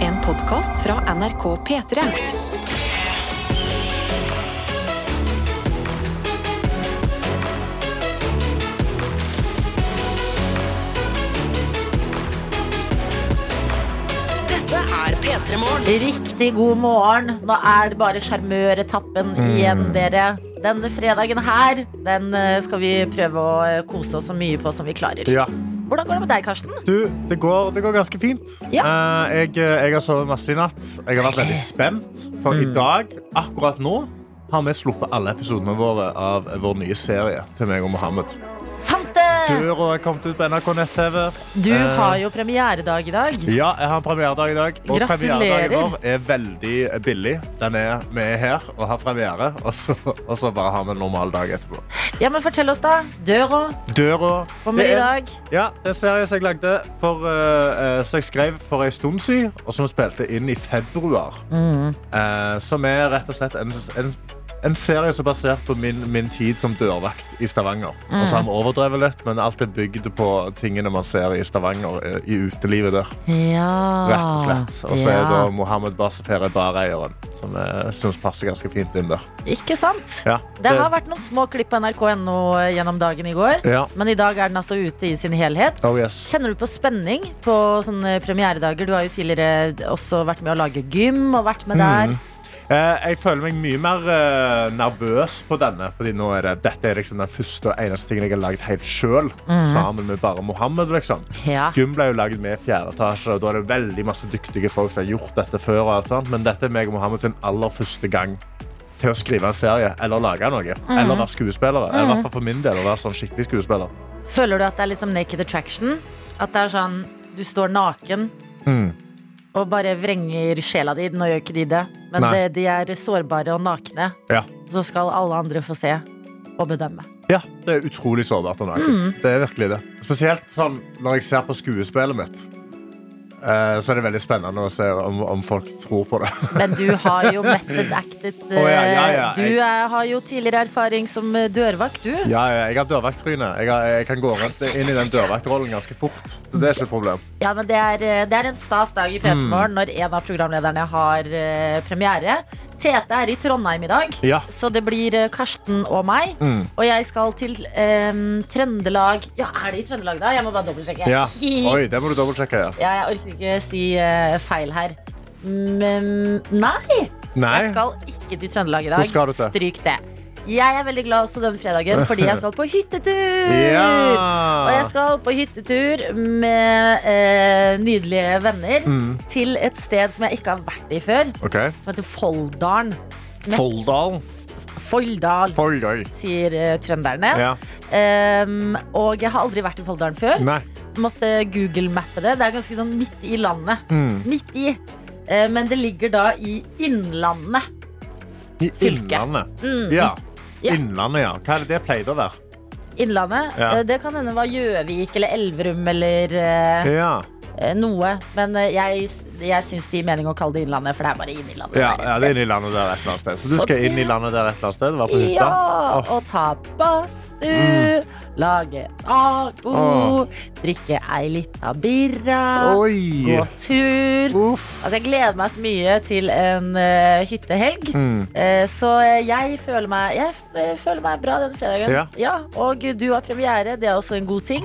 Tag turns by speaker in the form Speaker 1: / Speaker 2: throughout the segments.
Speaker 1: En podkast fra NRK P3. Dette er P3 Morgen.
Speaker 2: Riktig god morgen. Nå er det bare sjarmøretappen
Speaker 3: Mm.
Speaker 2: igjen, dere. Denne fredagen her den eh, skal vi prøve å eh, kose oss så mye på som vi klarer.
Speaker 3: Ja.
Speaker 2: Hvordan går det med deg, Karsten?
Speaker 3: Du, det går, det går ganske fint. Eh, jeg, jeg har sovet masse i natt. Jeg har vært veldig spent, for i dag, akkurat nå, har vi sluppet alle episodene våre av vår nye serie til meg og Mohammed.
Speaker 2: Sante!
Speaker 3: Døra er kommet ut på NRK nett-TV.
Speaker 2: Du
Speaker 3: Eh.
Speaker 2: har jo premieredag i dag.
Speaker 3: Ja, jeg har en premieredag i dag. Og
Speaker 2: Gratulerer.
Speaker 3: premieredagen vår er veldig billig. Den er, vi er her og har premiere, og så, og så bare har vi en normal dag etterpå.
Speaker 2: Ja, men fortell oss, da. Døra
Speaker 3: Døra
Speaker 2: kommer
Speaker 3: det
Speaker 2: i
Speaker 3: er-
Speaker 2: dag.
Speaker 3: Ja, det er en serie som jeg lagde for, eh, eh, som jeg skrev for en stund siden, og som jeg spilte inn i februar.
Speaker 2: Mm.
Speaker 3: Eh, som er rett og slett en, en, en serie som er basert på min, min tid som dørvakt i Stavanger.
Speaker 2: Mm.
Speaker 3: Og så har vi overdrevet litt, men alt er bygd på tingene man ser i Stavanger, eh, i utelivet der.
Speaker 2: Ja.
Speaker 3: Rett og slett. Og så er
Speaker 2: Ah, Ja.
Speaker 3: det Mohammed Basefere, bareieren, som jeg syns passer ganske fint inn der.
Speaker 2: Ikke sant?
Speaker 3: Ja,
Speaker 2: Det har vært noen små klipp på nrk.no eh, gjennom dagen i går.
Speaker 3: Ja.
Speaker 2: Men i dag er den altså ute i sin helhet.
Speaker 3: Oh yes.
Speaker 2: Kjenner du på spenning på sånne premieredager? Du har jo tidligere også vært med å lage gym og vært med der.
Speaker 3: Eh, Jeg føler meg mye mer eh, nervøs på denne. Fordi nå er det, dette er liksom den første og eneste tingen jeg har lagd helt sjøl. Sammen med bare Mohammed. Liksom.
Speaker 2: Ja.
Speaker 3: Gym ble jo lagd med i fjerde etasje, og da er det veldig masse dyktige folk som har gjort dette før. Og alt sånt. Men dette er meg og Mohammed sin aller første gang til å skrive en serie eller lage noe. Eller være skuespillere. I hvert fall for min del å være sånn skikkelig skuespiller.
Speaker 2: Føler du at det er liksom naked attraction? At det er sånn du står naken
Speaker 3: Mm.
Speaker 2: og bare vrenger sjela di? Nå gjør ikke de det, men
Speaker 3: Nei.
Speaker 2: det, de er sårbare og nakne.
Speaker 3: Ja.
Speaker 2: Så skal alle andre få se og bedømme.
Speaker 3: Ja, Mm. det er utrolig sårbart og nakent. Det er virkelig det. Spesielt sånn, når jeg ser på skuespillet mitt. eh, Så er det veldig spennende å se om, om folk tror på det.
Speaker 2: Men du har jo method acted.
Speaker 3: Å, ja, ja, ja.
Speaker 2: eh, Du eh, har jo tidligere erfaring som eh, dørvakt, du.
Speaker 3: Ja, ja, jeg har dørvakttryne. Jeg, har- jeg kan gå rundt inn i den dørvaktrollen ganske fort. Så det er ikke et problem.
Speaker 2: Ja, men det er, eh, det er en stas dag i P3
Speaker 3: Mm.
Speaker 2: Morgen når en av programlederne har eh, premiere. Tete er i Trondheim i dag,
Speaker 3: Ja.
Speaker 2: så det blir eh, Karsten og meg.
Speaker 3: Mm.
Speaker 2: Og jeg skal til eh, Trøndelag Ja, er det i Trøndelag, da? Jeg må bare dobbeltsjekke.
Speaker 3: ja. Oi, det må du dobbeltsjekke. Ja.
Speaker 2: Ja, jeg orker ikke si eh, feil her. Men nei, jeg
Speaker 3: Nei.
Speaker 2: skal ikke til Trøndelag i
Speaker 3: Hvor
Speaker 2: dag.
Speaker 3: skal du til?
Speaker 2: Stryk det. Jeg er veldig glad også denne fredagen, fordi jeg skal på hyttetur! Og jeg
Speaker 3: Ja.
Speaker 2: skal på hyttetur med eh, nydelige venner
Speaker 3: Mm.
Speaker 2: til et sted som jeg ikke har vært i før,
Speaker 3: OK.
Speaker 2: som heter Folldalen.
Speaker 3: Folldal.
Speaker 2: Folldal,
Speaker 3: Folldal.
Speaker 2: sier eh, trønderne.
Speaker 3: Ja.
Speaker 2: Em, og jeg har aldri vært i Folldalen før.
Speaker 3: Nei.
Speaker 2: Måtte google-mappe det. Det er ganske sånn midt i landet.
Speaker 3: Mm.
Speaker 2: Midt i. Eh, men det ligger da i Innlandet.
Speaker 3: I
Speaker 2: Fylke.
Speaker 3: Innlandet.
Speaker 2: Mm.
Speaker 3: Ja.
Speaker 2: Ja.
Speaker 3: Innlandet, ja. Hva er det det pleide å være?
Speaker 2: Innlandet.
Speaker 3: Ja.
Speaker 2: Eh, det kan hende var Gjøvik eller Elverum eller eh,
Speaker 3: Ja.
Speaker 2: eh, noe. Men eh, jeg, jeg syns det gir mening å kalle det Innlandet, for det er bare inne i landet. Det
Speaker 3: Ja,
Speaker 2: er et
Speaker 3: ja, det er inn i landet der et eller annet sted. Så du
Speaker 2: Så
Speaker 3: skal inn
Speaker 2: det-
Speaker 3: i landet der et eller annet sted? Være på hytta?
Speaker 2: Ja,
Speaker 3: Åh, Mm.
Speaker 2: og ta badstue, lage agbo,
Speaker 3: Åh.
Speaker 2: drikke ei lita birra, gå
Speaker 3: Oi!
Speaker 2: tur.
Speaker 3: Uff.
Speaker 2: Altså, jeg gleder meg så mye til en eh, hyttehelg.
Speaker 3: Mm.
Speaker 2: Eh, så eh, jeg føler, meg, jeg f- eh, føler meg bra denne fredagen.
Speaker 3: Ja.
Speaker 2: Og du har premiere, det er også en god ting.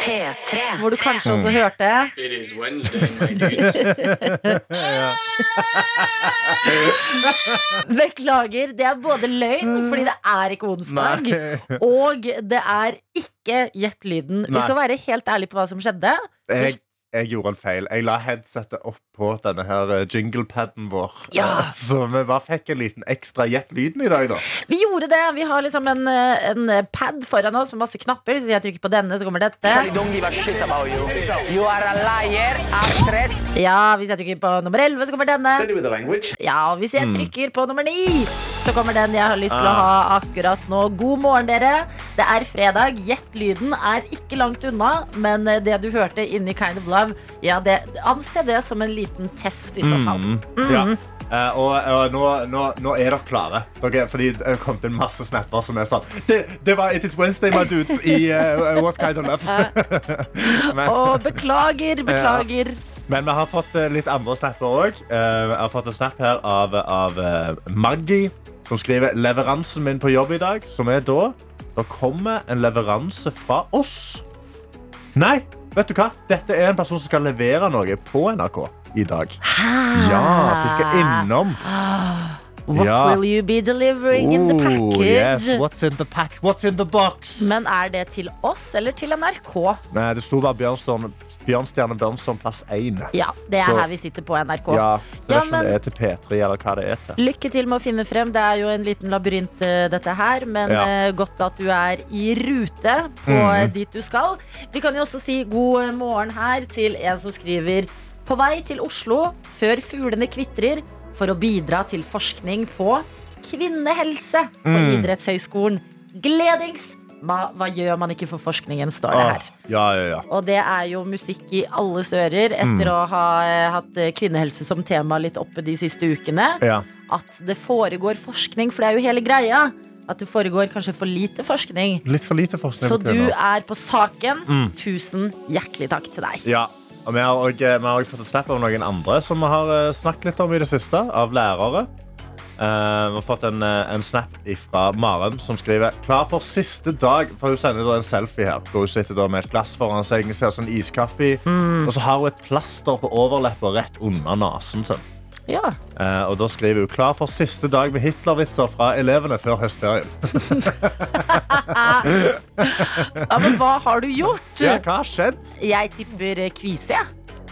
Speaker 1: P3.
Speaker 2: Hvor du kanskje
Speaker 3: Mm.
Speaker 2: også hørte
Speaker 4: It is Wednesday, my dudes.
Speaker 2: Beklager, det er både løgn, fordi det er ikke onsdag.
Speaker 3: Mm. Nei.
Speaker 2: Og det er ikke gjett lyden. Vi
Speaker 3: Nei.
Speaker 2: skal være helt ærlige på hva som skjedde.
Speaker 3: Jeg, jeg gjorde en feil. Jeg la headsetet oppå denne her eh, jinglepaden vår.
Speaker 2: Ja.
Speaker 3: Eh, Så vi bare fikk en liten ekstra gjett lyden i dag, da.
Speaker 2: Vi gjorde det. Vi har liksom en, eh, en pad foran oss med masse knapper. Så jeg trykker på denne, så kommer dette.
Speaker 5: don't give a shit about you. You are a liar, actress.
Speaker 2: Ja, Hvis jeg trykker på nummer 11, så kommer denne.
Speaker 5: Steady with the language.
Speaker 2: Ja, Hvis
Speaker 3: Mm.
Speaker 2: jeg trykker på nummer 9, så kommer den jeg har lyst til å ha
Speaker 3: Ah.
Speaker 2: akkurat nå. God morgen, dere. Det er fredag. Gjett lyden er ikke langt unna, men eh, det du hørte inni Kind of Love, ja, det, anse det som en liten test i så fall.
Speaker 3: Mm. Ja. Eh, og og nå, nå, nå er dere klare. Dere, fordi det kom til masse snapper som er sånn Det, det var It Is Wednesday, my dudes, i eh, What Kind of Love. Men,
Speaker 2: Og beklager, beklager.
Speaker 3: Men vi har fått eh, litt andre snapper òg. Jeg har fått en snap her av, av eh, Maggie, som skriver leveransen min på jobb i dag, som er da Det kommer en leveranse fra oss. Nei, vet du hva? Dette er en person som skal levere noe på NRK i dag. Ja, så vi skal innom.
Speaker 2: What
Speaker 3: Ja.
Speaker 2: will you be delivering in the
Speaker 3: Oh,
Speaker 2: package?
Speaker 3: yes. What's in the pack? What's in the box?
Speaker 2: Men er det til oss eller til NRK?
Speaker 3: Nei, det sto bare Bjørnstjerne, Bjørnstjerne Bjørnson plass 1.
Speaker 2: Ja, det er
Speaker 3: Så-
Speaker 2: her vi sitter på NRK.
Speaker 3: Ja, så jeg vet
Speaker 2: Ja,
Speaker 3: ikke om
Speaker 2: men-
Speaker 3: det er til P3 eller hva det er til.
Speaker 2: Lykke til med å finne frem. Det er jo en liten labyrint, eh, dette her. Men
Speaker 3: Ja. Mhm.
Speaker 2: eh, godt at du er i rute på eh, dit du skal. Vi kan jo også si god eh, morgen her til en som skriver På vei til Oslo før fuglene kvitrer for å bidra til forskning på kvinnehelse på
Speaker 3: Mm.
Speaker 2: Idrettshøgskolen. Gledings! Hva, hva gjør man ikke for forskningen, står det
Speaker 3: Åh,
Speaker 2: her.
Speaker 3: ja, ja, ja.
Speaker 2: Og det er jo musikk i alles ører
Speaker 3: Mhm.
Speaker 2: etter å ha eh, hatt eh, kvinnehelse som tema litt oppe de siste ukene
Speaker 3: ja.
Speaker 2: at det foregår forskning, for det er jo hele greia. At det foregår kanskje for lite forskning.
Speaker 3: Litt for lite forskning
Speaker 2: Så
Speaker 3: på
Speaker 2: du
Speaker 3: kvinner.
Speaker 2: er på saken.
Speaker 3: Mm.
Speaker 2: Tusen hjertelig takk til deg.
Speaker 3: Ja. Og vi har også, vi har også fått et snap av noen andre som vi har eh, snakket litt om i det siste, av lærere. Eh, vi har fått en, eh, en snap fra Maren som skriver Klar for siste dag. For hun sender da en selfie her. hvor Hun sitter da med et glass foran seg og ser sånn iskaffe. i.
Speaker 2: Hmm.
Speaker 3: Og så har hun et plaster på overleppa rett under nesen sin.
Speaker 2: Ja.
Speaker 3: Eh, og da skriver hun klar for siste dag med Hitler-vitser fra elevene før høstferien.
Speaker 2: ja, men hva har du gjort?
Speaker 3: Ja, hva har skjedd?
Speaker 2: Jeg tipper eh, kvise, jeg.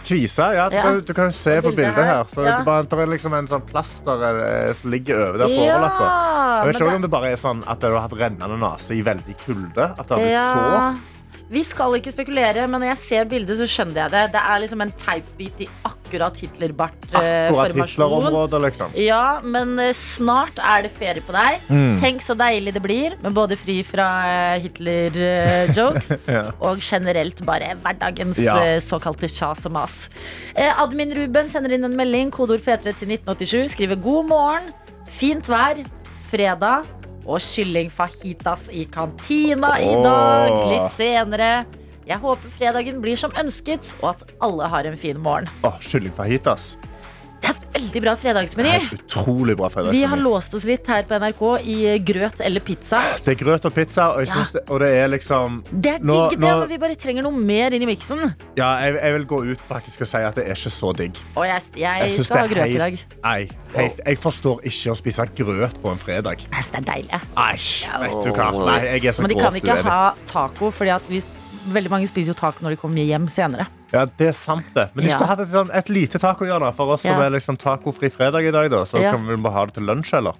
Speaker 3: Kvise, ja. Du, kan-
Speaker 2: Ja.
Speaker 3: du kan jo se på bildet her. Så
Speaker 2: ja.
Speaker 3: det, bare, det er liksom en sånn plaster eh, som ligger over der på overleppa.
Speaker 2: Ja,
Speaker 3: Jeg vet
Speaker 2: men
Speaker 3: ikke
Speaker 2: det-
Speaker 3: om det bare er sånn at du har hatt rennende nase i veldig kulde. At det har blitt
Speaker 2: Ja.
Speaker 3: sår.
Speaker 2: Vi skal ikke spekulere, men når jeg ser bildet, så skjønner jeg det. Det er liksom en teipbit i akkurat Eh,
Speaker 3: Akkurat
Speaker 2: Hitlerbart-formasjon.
Speaker 3: Hitler-området, liksom.
Speaker 2: Ja, men eh, snart er det ferie på deg.
Speaker 3: Mm.
Speaker 2: Tenk så deilig det blir med både fri fra eh, Hitler-jokes
Speaker 3: Ja.
Speaker 2: og generelt bare hverdagens
Speaker 3: Ja.
Speaker 2: eh, såkalte kjas og mas. Eh, Admin Ruben sender inn en melding, kodeord P3 til 1987, skriver god morgen, fint vær, fredag og kylling fajitas i kantina i dag,
Speaker 3: Åh.
Speaker 2: litt senere. Jeg håper fredagen blir som ønsket, og at alle har en fin morgen.
Speaker 3: Åh, Kylling fajitas.
Speaker 2: Det er veldig bra fredagsmeny.
Speaker 3: Helt Utrolig bra
Speaker 2: Vi har
Speaker 3: fredagsmeny.
Speaker 2: låst oss litt her på NRK i eh, grøt eller pizza.
Speaker 3: Det er grøt og pizza, og, jeg synes det, og det er liksom
Speaker 2: Det er digg,
Speaker 3: Nå-
Speaker 2: det,
Speaker 3: nå-
Speaker 2: men vi bare trenger noe mer inn i miksen.
Speaker 3: Ja, jeg, jeg vil gå ut faktisk og si at det er ikke så digg.
Speaker 2: Og jeg, jeg,
Speaker 3: synes
Speaker 2: skal ha
Speaker 3: det er
Speaker 2: grøt i dag.
Speaker 3: helt- Nei, helt, jeg forstår ikke å spise grøt på en fredag.
Speaker 2: Jeg synes det er deilig.
Speaker 3: Nei, vet du hva? Nei, jeg er så
Speaker 2: Men de kan
Speaker 3: grovt
Speaker 2: ikke
Speaker 3: uenig.
Speaker 2: ha taco, fordi at vi, veldig mange spiser jo taco når de kommer hjem senere.
Speaker 3: Ja, det er sant det. Men de
Speaker 2: Ja.
Speaker 3: skulle hatt et, sånn, et lite tacohjørne for oss som
Speaker 2: Ja.
Speaker 3: er liksom tacofri fredag i dag. Da. Så
Speaker 2: Ja. Mhm.
Speaker 3: kan vi bare ha det til lunsj, eller?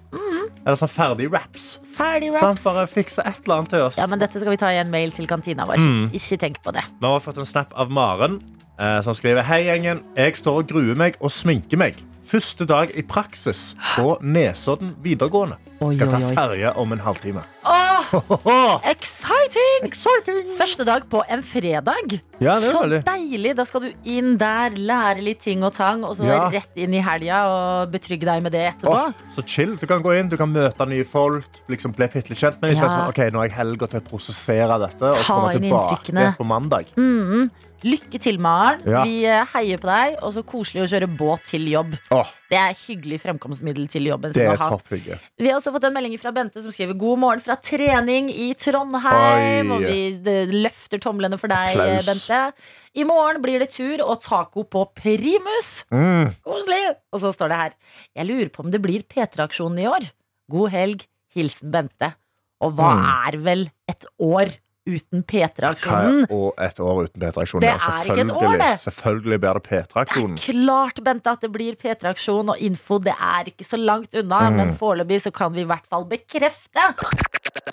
Speaker 3: Eller sånn ferdig wraps.
Speaker 2: Ferdig
Speaker 3: Sant?
Speaker 2: wraps.
Speaker 3: Bare fikse et eller annet til oss.
Speaker 2: Ja, men dette skal vi ta i en mail til kantina vår.
Speaker 3: Mm.
Speaker 2: Ikke tenk på det.
Speaker 3: Nå har vi fått en snap av Maren, eh, som skriver Hei, gjengen. Jeg står og gruer meg og sminker meg. Første dag i praksis på Nesodden videregående.
Speaker 2: Oi,
Speaker 3: Skal ta
Speaker 2: oi, oi.
Speaker 3: ferje om en halvtime.
Speaker 2: Åh,
Speaker 3: Åh,
Speaker 2: exciting!
Speaker 3: exciting!
Speaker 2: Første dag på en fredag.
Speaker 3: Ja, det er
Speaker 2: så
Speaker 3: veldig.
Speaker 2: deilig. Da skal du inn der, lære litt ting og tang, og så
Speaker 3: Ja.
Speaker 2: rett inn i helga og betrygge deg med det etterpå.
Speaker 3: Åh, så chill. Du kan gå inn, du kan møte nye folk, liksom bli litt kjent med dem. så er det
Speaker 2: Ja.
Speaker 3: Sånn, ok, nå har jeg helga til å prosessere dette og
Speaker 2: Ta
Speaker 3: så komme
Speaker 2: inn
Speaker 3: tilbake
Speaker 2: inntrykkene. Mm.
Speaker 3: på mandag.
Speaker 2: Lykke til, Maren.
Speaker 3: Ja.
Speaker 2: Vi eh, heier på deg. Og så koselig å kjøre båt til jobb.
Speaker 3: Åh,
Speaker 2: Det er hyggelig fremkomstmiddel til jobben
Speaker 3: det
Speaker 2: sin å
Speaker 3: er
Speaker 2: ha.
Speaker 3: topphygge.
Speaker 2: Vi har også fått en melding fra Bente som skriver 'God morgen fra trening i
Speaker 3: Oi.
Speaker 2: Trondheim'. Og vi eh, løfter tomlene for deg, eh,
Speaker 3: Applaus.
Speaker 2: Bente. I morgen blir det tur og taco på primus.
Speaker 3: Mm.
Speaker 2: Koselig! Og så står det her 'Jeg lurer på om det blir P3-aksjonen i år'. God helg. Hilsen Bente. Og hva
Speaker 3: Mm.
Speaker 2: er vel et år uten P3-aksjonen?
Speaker 3: Hva- Og et år uten P3-aksjonen.
Speaker 2: Det
Speaker 3: ja,
Speaker 2: er ikke et år,
Speaker 3: selvfølgelig.
Speaker 2: det.
Speaker 3: Selvfølgelig blir det P3-aksjonen.
Speaker 2: Klart, Bente, at det blir P3-aksjon og info. Det er ikke så langt unna,
Speaker 3: Mm.
Speaker 2: men foreløpig så kan vi i hvert fall bekrefte.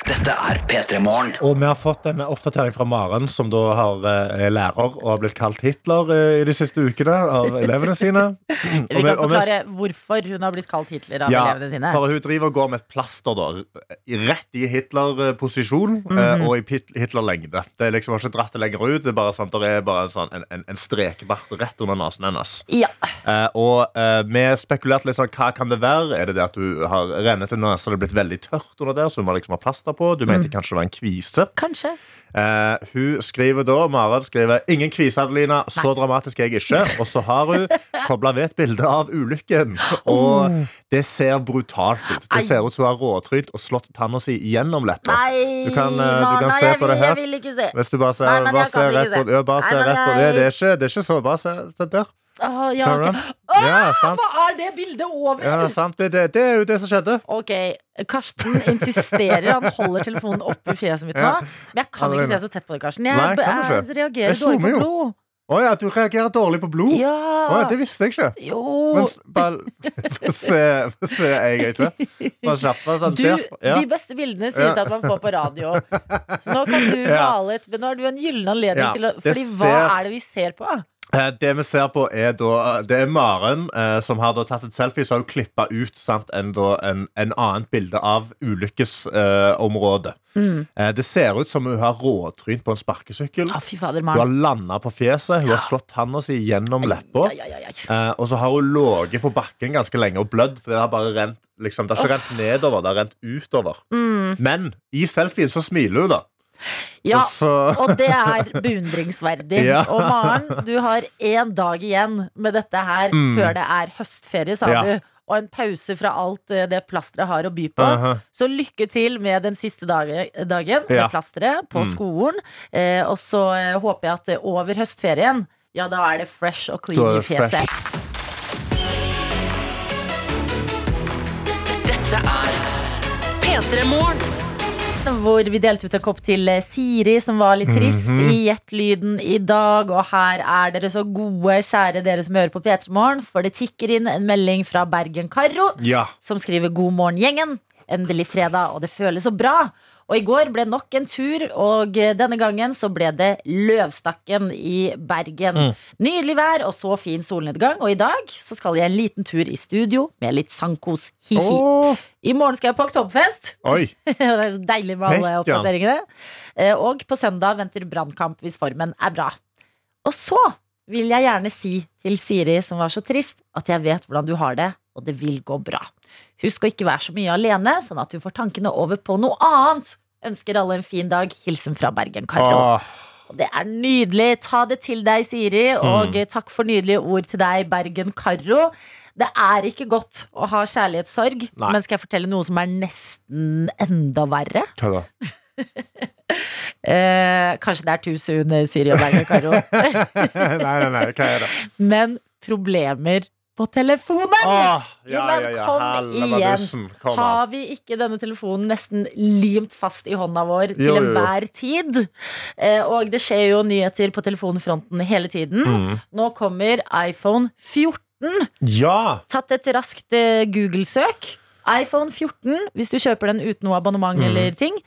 Speaker 5: Dette er P3 Morgen.
Speaker 3: Og vi har fått en oppdatering fra Maren, som da har, eh, er lærer og har blitt kalt Hitler eh, i de siste ukene av elevene sine. Mm,
Speaker 2: Vi
Speaker 3: og
Speaker 2: kan
Speaker 3: og vi-
Speaker 2: forklare hvorfor hun har blitt kalt Hitler av elevene sine.
Speaker 3: for hun driver og går med et plaster da, i- rett i Hitler-posisjon
Speaker 2: Mhm.
Speaker 3: eh, og i Pit- Hitler-lengde. Det er liksom har ikke dratt det lenger ut. Det er bare, sånn, det er bare en, sånn, en, en, en strekbart rett under nesen hennes.
Speaker 2: Ja.
Speaker 3: Eh, og eh, vi spekulerte litt sånn, hva kan det være? Er det det at du har rennet en nese og det er blitt veldig tørt under der, så hun må liksom ha plaster på? på. Du
Speaker 2: Mhm.
Speaker 3: mente kanskje det var en kvise.
Speaker 2: Kanskje.
Speaker 3: Eh, hun skriver da Marit skriver Ingen kvise, Adelina. Så dramatisk er jeg ikke. Og så har hun kobla ved et bilde av ulykken. Og det ser brutalt ut.
Speaker 2: Oh. Ai.
Speaker 3: Det ser ut som hun har råtrynt og slått tanna si gjennom leppa.
Speaker 2: Nei,
Speaker 3: Du kan, eh, du kan
Speaker 2: Marna,
Speaker 3: se
Speaker 2: jeg,
Speaker 3: på det
Speaker 2: vil-
Speaker 3: her.
Speaker 2: jeg vil ikke se.
Speaker 3: Hvis du bare ser,
Speaker 2: Nei, men
Speaker 3: bare
Speaker 2: jeg kan
Speaker 3: ser
Speaker 2: ikke
Speaker 3: rett på,
Speaker 2: se.
Speaker 3: ja, bare
Speaker 2: Nei,
Speaker 3: ser
Speaker 2: men
Speaker 3: rett
Speaker 2: jeg-
Speaker 3: på det. Det er ikke, det er ikke så Bare se se der.
Speaker 2: Åh, ja,
Speaker 3: Ser du
Speaker 2: ok.
Speaker 3: den? Ja, sant.
Speaker 2: Hva er det bildet over?
Speaker 3: Ja, sant. Det, det, det er jo det som skjedde.
Speaker 2: Ok, Karsten insisterer. Han holder telefonen oppe i fjeset mitt nå.
Speaker 3: Ja.
Speaker 2: Men jeg kan ikke se så tett på det, Karsten. Jeg,
Speaker 3: Nei, kan du
Speaker 2: jeg
Speaker 3: ikke?
Speaker 2: reagerer
Speaker 3: Jeg
Speaker 2: dårlig
Speaker 3: zoomer
Speaker 2: på
Speaker 3: jo.
Speaker 2: blod.
Speaker 3: Å ja, du reagerer dårlig på blod.
Speaker 2: Ja.
Speaker 3: Å, ja, det visste jeg ikke.
Speaker 2: Jo.
Speaker 3: Men s- bare få se, få se en gang til. Bare skjerpe deg.
Speaker 2: Du,
Speaker 3: sant? Ja.
Speaker 2: De beste bildene sies det at man får på radio. Så nå kan du
Speaker 3: Ja.
Speaker 2: male et Men nå har du en gyllen anledning
Speaker 3: Ja,
Speaker 2: til å
Speaker 3: det
Speaker 2: Fordi hva
Speaker 3: ser-
Speaker 2: er det vi ser på?
Speaker 3: Eh, Det vi ser på er da Det er Maren eh, som har da tatt et selfie Så har hun klippet ut sant, en, da, en, en annet bilde av ulykkesområdet eh, Det ser ut som hun har råtrynt på en sparkesykkel
Speaker 2: Å, fy fader,
Speaker 3: Hun har
Speaker 2: Maren.
Speaker 3: landet på fjeset Hun har slått handa si gjennom leppa
Speaker 2: Ja, ja, ja, ja.
Speaker 3: eh, Og så har hun låget på bakken ganske lenge Og blødd For det har bare rent liksom, Det har ikke rent nedover, det har rent utover Men i selfien så smiler hun da
Speaker 2: ja.
Speaker 3: Så-
Speaker 2: Og det er beundringsverdig.
Speaker 3: Ja.
Speaker 2: Og Maren, du har én dag igjen med dette her før det er høstferie, sa
Speaker 3: Mm. Ja.
Speaker 2: du. Og en pause fra alt eh, det plasteret har å by på.
Speaker 3: Aha.
Speaker 2: Så lykke til med den siste dage- dagen med
Speaker 3: Ja. Mm.
Speaker 2: plasteret på skolen. Eh, og så eh, håper jeg at eh, over høstferien, ja, da er det fresh og
Speaker 3: Da er
Speaker 2: clean i
Speaker 3: det
Speaker 2: fjeset.
Speaker 1: Dette er P3 Morgen.
Speaker 2: hvor vi delte ut en kopp til eh, Siri, som var litt trist, i Gjett-lyden i dag. Og her er dere så gode, kjære dere som hører på P3 Morgen, for det tikker inn en melding fra Bergen-Karro,
Speaker 3: Ja
Speaker 2: som skriver 'God morgen, gjengen'. Endelig fredag, og det føles så bra. Og i går ble nok en tur, og eh, denne gangen så ble det Løvstakken i Bergen. Nydelig vær og så fin solnedgang, og i dag så skal jeg en liten tur i studio med litt sangkos. Hihi.
Speaker 3: Åh.
Speaker 2: I morgen skal jeg på Oktoberfest.
Speaker 3: Oi
Speaker 2: Ja, det er så deilig med alle
Speaker 3: Helt, ja.
Speaker 2: oppdateringene. Eh, Og på søndag venter brannkamp hvis formen er bra. Og så vil jeg gjerne si til Siri, som var så trist, at jeg vet hvordan du har det, og det vil gå bra. Husk å ikke være så mye alene, sånn at du får tankene over på noe annet. Ønsker alle en fin dag. Hilsen fra Bergen, Karo.
Speaker 3: Åh.
Speaker 2: Og Det er nydelig. Ta det til deg, Siri, og
Speaker 3: Mm.
Speaker 2: eh, takk for nydelige ord til deg, Bergen Karo. Det er ikke godt å ha kjærlighetssorg,
Speaker 3: Nei.
Speaker 2: men skal jeg fortelle noe som er nesten enda verre?
Speaker 3: Hva da?
Speaker 2: Eh, kanskje det er too soon, eh, Siri og Bergen Karo.
Speaker 3: nei, nei, nei, hva er det?
Speaker 2: men problemer på telefonen!
Speaker 3: Åh,
Speaker 2: Jo, men kom
Speaker 3: Hallabadussen, Ah, Kom an.
Speaker 2: Har vi ikke denne telefonen nesten limt fast i hånda vår til
Speaker 3: Jo, jo, jo.
Speaker 2: enhver tid? Eh, og det skjer jo nyheter på telefonfronten hele tiden.
Speaker 3: Mm.
Speaker 2: Nå kommer iPhone 14.
Speaker 3: Ja!
Speaker 2: Tatt et raskt eh, Google-søk. iPhone 14, hvis du kjøper den uten noe
Speaker 3: Mhm.
Speaker 2: abonnement eller ting,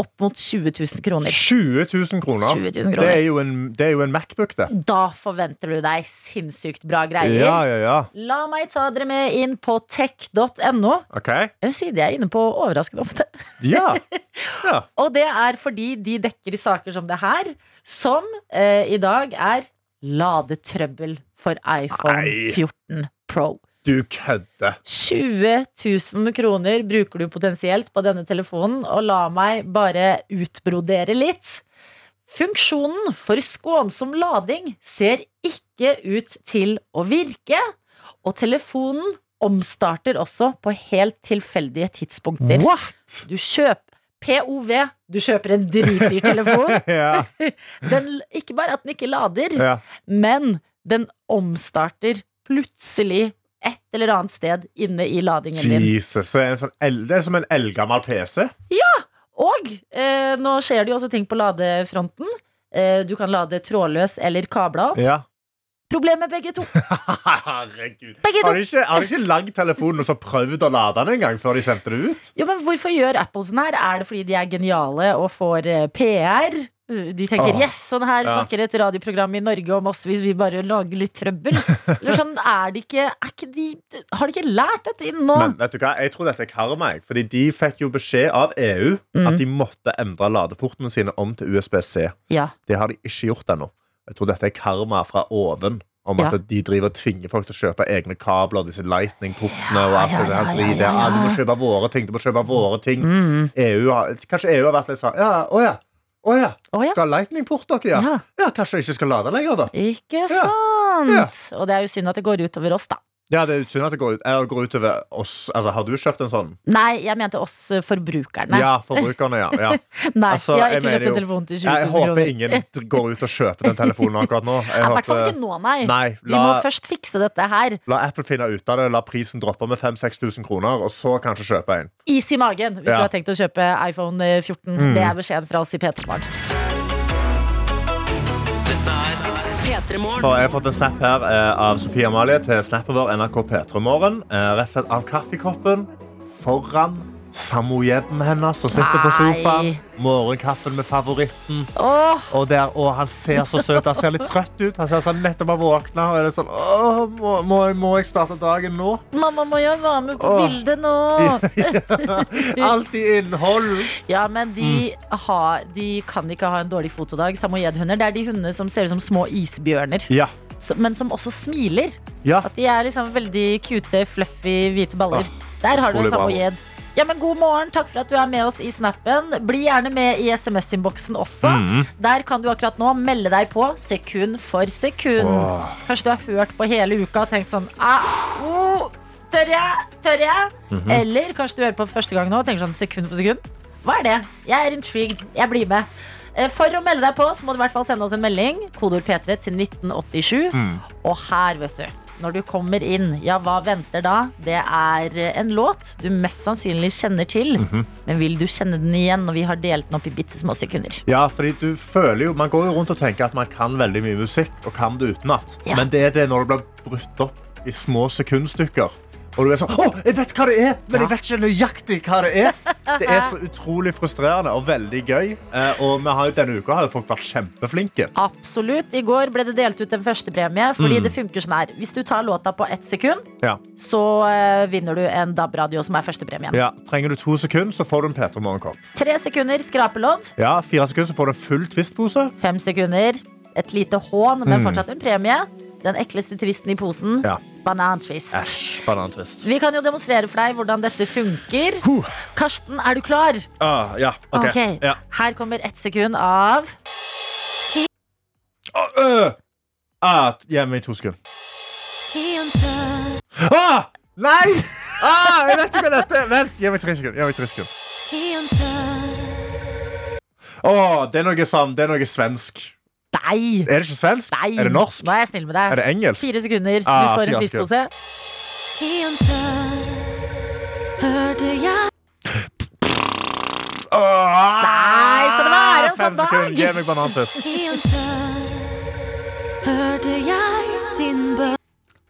Speaker 2: opp mot 20 000 kroner.
Speaker 3: 20 000 kroner.
Speaker 2: 20 000 kroner.
Speaker 3: Det, er jo en, det er jo en Macbook, det.
Speaker 2: Da forventer du deg sinnssykt bra greier.
Speaker 3: Ja, ja, ja.
Speaker 2: La meg ta dere med inn på tech.no.
Speaker 3: OK.
Speaker 2: En side jeg er inne på overraskende ofte.
Speaker 3: Ja. ja.
Speaker 2: Og det er fordi de dekker saker som det her, som eh, i dag er ladetrøbbel for iPhone
Speaker 3: Nei.
Speaker 2: 14 Pro.
Speaker 3: Du kødder.
Speaker 2: 20 000 kroner bruker du potensielt på denne telefonen, og la meg bare utbrodere litt. Funksjonen for skånsom lading ser ikke ut til å virke, og telefonen omstarter også på helt tilfeldige tidspunkter.
Speaker 3: What?!
Speaker 2: Du kjøper POV, du kjøper en dritdyr telefon.
Speaker 3: Ja.
Speaker 2: Den, ikke bare at den ikke lader,
Speaker 3: ja.
Speaker 2: men den omstarter plutselig et eller annet sted inne i ladingen din.
Speaker 3: Jesus. Det er, en sånn el- det er som en eldgammel PC.
Speaker 2: Og eh, nå skjer det jo også ting på ladefronten. Eh, du kan lade trådløs eller kabla opp.
Speaker 3: Ja.
Speaker 2: Problemet med begge to.
Speaker 3: Herregud.
Speaker 2: Begge to.
Speaker 3: Har de ikke, har de ikke lagd telefonen og så prøvd å lade den en gang før de sendte det ut?
Speaker 2: Jo, men Hvorfor gjør Apple sånn her? Er det fordi de er geniale og får eh, PR? De tenker
Speaker 3: Åh,
Speaker 2: yes, sånn her
Speaker 3: Ah. ja.
Speaker 2: snakker et radioprogram i Norge om oss hvis vi bare lager litt trøbbel. Eller sånn er de ikke, er ikke de, Har de ikke lært dette inn nå?
Speaker 3: Men vet du hva, jeg tror dette er karma. jeg. Fordi de fikk jo beskjed av EU
Speaker 2: Mhm.
Speaker 3: at de måtte endre ladeportene sine om til USBC.
Speaker 2: Ja.
Speaker 3: Det har de ikke gjort ennå. Jeg tror dette er karma fra oven. om at
Speaker 2: Ja.
Speaker 3: de driver og tvinger folk til å kjøpe egne kabler. Disse lightning-portene og alt
Speaker 2: Ja, ja,
Speaker 3: det der
Speaker 2: ja, ja,
Speaker 3: dritet.
Speaker 2: ja, Mhm. ja.
Speaker 3: Ja, du må kjøpe våre ting. Du må kjøpe våre ting. EU har, kanskje EU har vært litt sånn ja, Å ja. Å ja.
Speaker 2: Å ja.
Speaker 3: Skal ha lightning-port, dere? Ja.
Speaker 2: Ja.
Speaker 3: ja, kanskje jeg ikke skal lade lenger, da.
Speaker 2: Ikke
Speaker 3: Ja.
Speaker 2: sant?
Speaker 3: Ja.
Speaker 2: Og det er jo synd at det går ut over oss, da.
Speaker 3: Ja, det er synd at det går ut, eller går ut over oss. Altså, har du kjøpt en sånn?
Speaker 2: Nei, jeg mente oss eh, forbrukerne.
Speaker 3: Ja, forbrukerne, ja. ja.
Speaker 2: Nei,
Speaker 3: altså,
Speaker 2: jeg har
Speaker 3: jeg
Speaker 2: ikke
Speaker 3: mener
Speaker 2: kjøpt en
Speaker 3: jo-
Speaker 2: telefon til 20
Speaker 3: Jeg
Speaker 2: 000
Speaker 3: håper
Speaker 2: kroner.
Speaker 3: ingen går ut og kjøper den telefonen akkurat nå. Jeg
Speaker 2: Ja, I hvert fall
Speaker 3: håper-
Speaker 2: ikke nå, nei.
Speaker 3: Nei,
Speaker 2: Vi må
Speaker 3: la,
Speaker 2: først fikse dette her.
Speaker 3: la Apple finne ut av det. La prisen droppe med 5000-6000 kroner, og så kanskje kjøpe en.
Speaker 2: Is i magen hvis
Speaker 3: Ja. Mm.
Speaker 2: du har tenkt å kjøpe iPhone 14. Det er beskjeden fra oss i P3 Morgen.
Speaker 1: P3
Speaker 3: Så
Speaker 1: Morgen.
Speaker 3: jeg har fått en snap her eh, av Sofie Amalie til snappen vår NRK P3morgen. Eh, rett og slett av kaffekoppen foran samboeren hennes som sitter på
Speaker 2: Nei.
Speaker 3: sofaen. Morgenkaffen med favoritten.
Speaker 2: Åh,
Speaker 3: Og, der, og han ser så søt Han ser litt trøtt ut. Han ser sånn nettopp har våkna. Og er det sånn, Åh, må, må, jeg- må jeg starte dagen nå?
Speaker 2: mamma, må jeg være med på
Speaker 3: Åh.
Speaker 2: bildet nå?
Speaker 3: Alltid innhold.
Speaker 2: Ja, men de,
Speaker 3: Mm.
Speaker 2: har, de kan ikke ha en dårlig fotodag, samojedhunder. Det er de hundene som ser ut som små isbjørner,
Speaker 3: Ja.
Speaker 2: så- men som også smiler.
Speaker 3: ja.
Speaker 2: At de er liksom veldig cute, fluffy, hvite baller. Der har du en
Speaker 3: Ah, utrolig bra.
Speaker 2: samojed. Ja, men God morgen, takk for at du er med oss i snappen. Bli gjerne med i SMS-innboksen også.
Speaker 3: Mm.
Speaker 2: Der kan du akkurat nå melde deg på sekund for sekund.
Speaker 3: Åh.
Speaker 2: Kanskje du har hørt på hele uka og tenkt sånn ah, oh, Tør jeg? Tør jeg? Eller kanskje du hører på første gang nå og tenker sånn sekund for sekund. Hva er det? Jeg er intrigued. Jeg blir med. Eh, For å melde deg på så må du i hvert fall sende oss en melding. Kodeord P3 til 1987. Og her, vet du. Når du kommer inn, ja, hva venter da? Det er eh, en låt du mest sannsynlig kjenner til. Men vil du kjenne den igjen når vi har delt den opp i bitte små sekunder?
Speaker 3: Ja, fordi du føler jo, Man går jo rundt og tenker at man kan veldig mye musikk, og kan det utenat.
Speaker 2: Ja.
Speaker 3: Men det er det når det blir brutt opp i små sekundstykker. Og du er sånn Å, jeg vet hva det er, men jeg vet ikke nøyaktig hva det er. Det er så utrolig frustrerende og veldig gøy. Eh, og vi har jo denne uka har jo folk vært kjempeflinke.
Speaker 2: Absolutt. I går ble det delt ut en førstepremie, fordi
Speaker 3: Mm.
Speaker 2: det funker sånn her. Hvis du tar låta på ett sekund,
Speaker 3: Ja.
Speaker 2: så eh, vinner du en DAB-radio, som er førstepremien.
Speaker 3: Ja, Trenger du to sekunder, så får du en P3 Morgenkopp.
Speaker 2: Tre sekunder skrapelodd.
Speaker 3: Ja, fire sekunder, så får du en full Twist-pose.
Speaker 2: Fem sekunder et lite hån, men fortsatt en premie. Den ekleste tvisten i posen.
Speaker 3: Mm. Ja.
Speaker 2: Banantvist.
Speaker 3: Æsj, banantvist.
Speaker 2: Vi kan jo demonstrere for deg hvordan dette funker.
Speaker 3: Huh.
Speaker 2: Karsten, er du klar?
Speaker 3: Ah, ja, OK.
Speaker 2: Ok.
Speaker 3: Ja.
Speaker 2: Her kommer ett sekund av
Speaker 3: Å, øh. ah, hjemme i to sekunder. Ah, nei! Ah, jeg vet ikke hva dette er. Vent, gi meg tre sekunder. Gi meg tre sekunder. Å, det er noe sånn, det er noe svensk.
Speaker 2: Nei!
Speaker 3: Er det ikke svensk?
Speaker 2: Nei.
Speaker 3: Er det norsk?
Speaker 2: Nå er jeg snill med deg.
Speaker 3: Er det engelsk?
Speaker 2: Fire sekunder. Du
Speaker 3: Ah,
Speaker 2: får en
Speaker 3: fire
Speaker 2: tvistpose.
Speaker 3: Åh,
Speaker 2: Nei, skal det være en
Speaker 3: fem
Speaker 2: sånn dag?
Speaker 3: sekunder. Gi meg banantiss.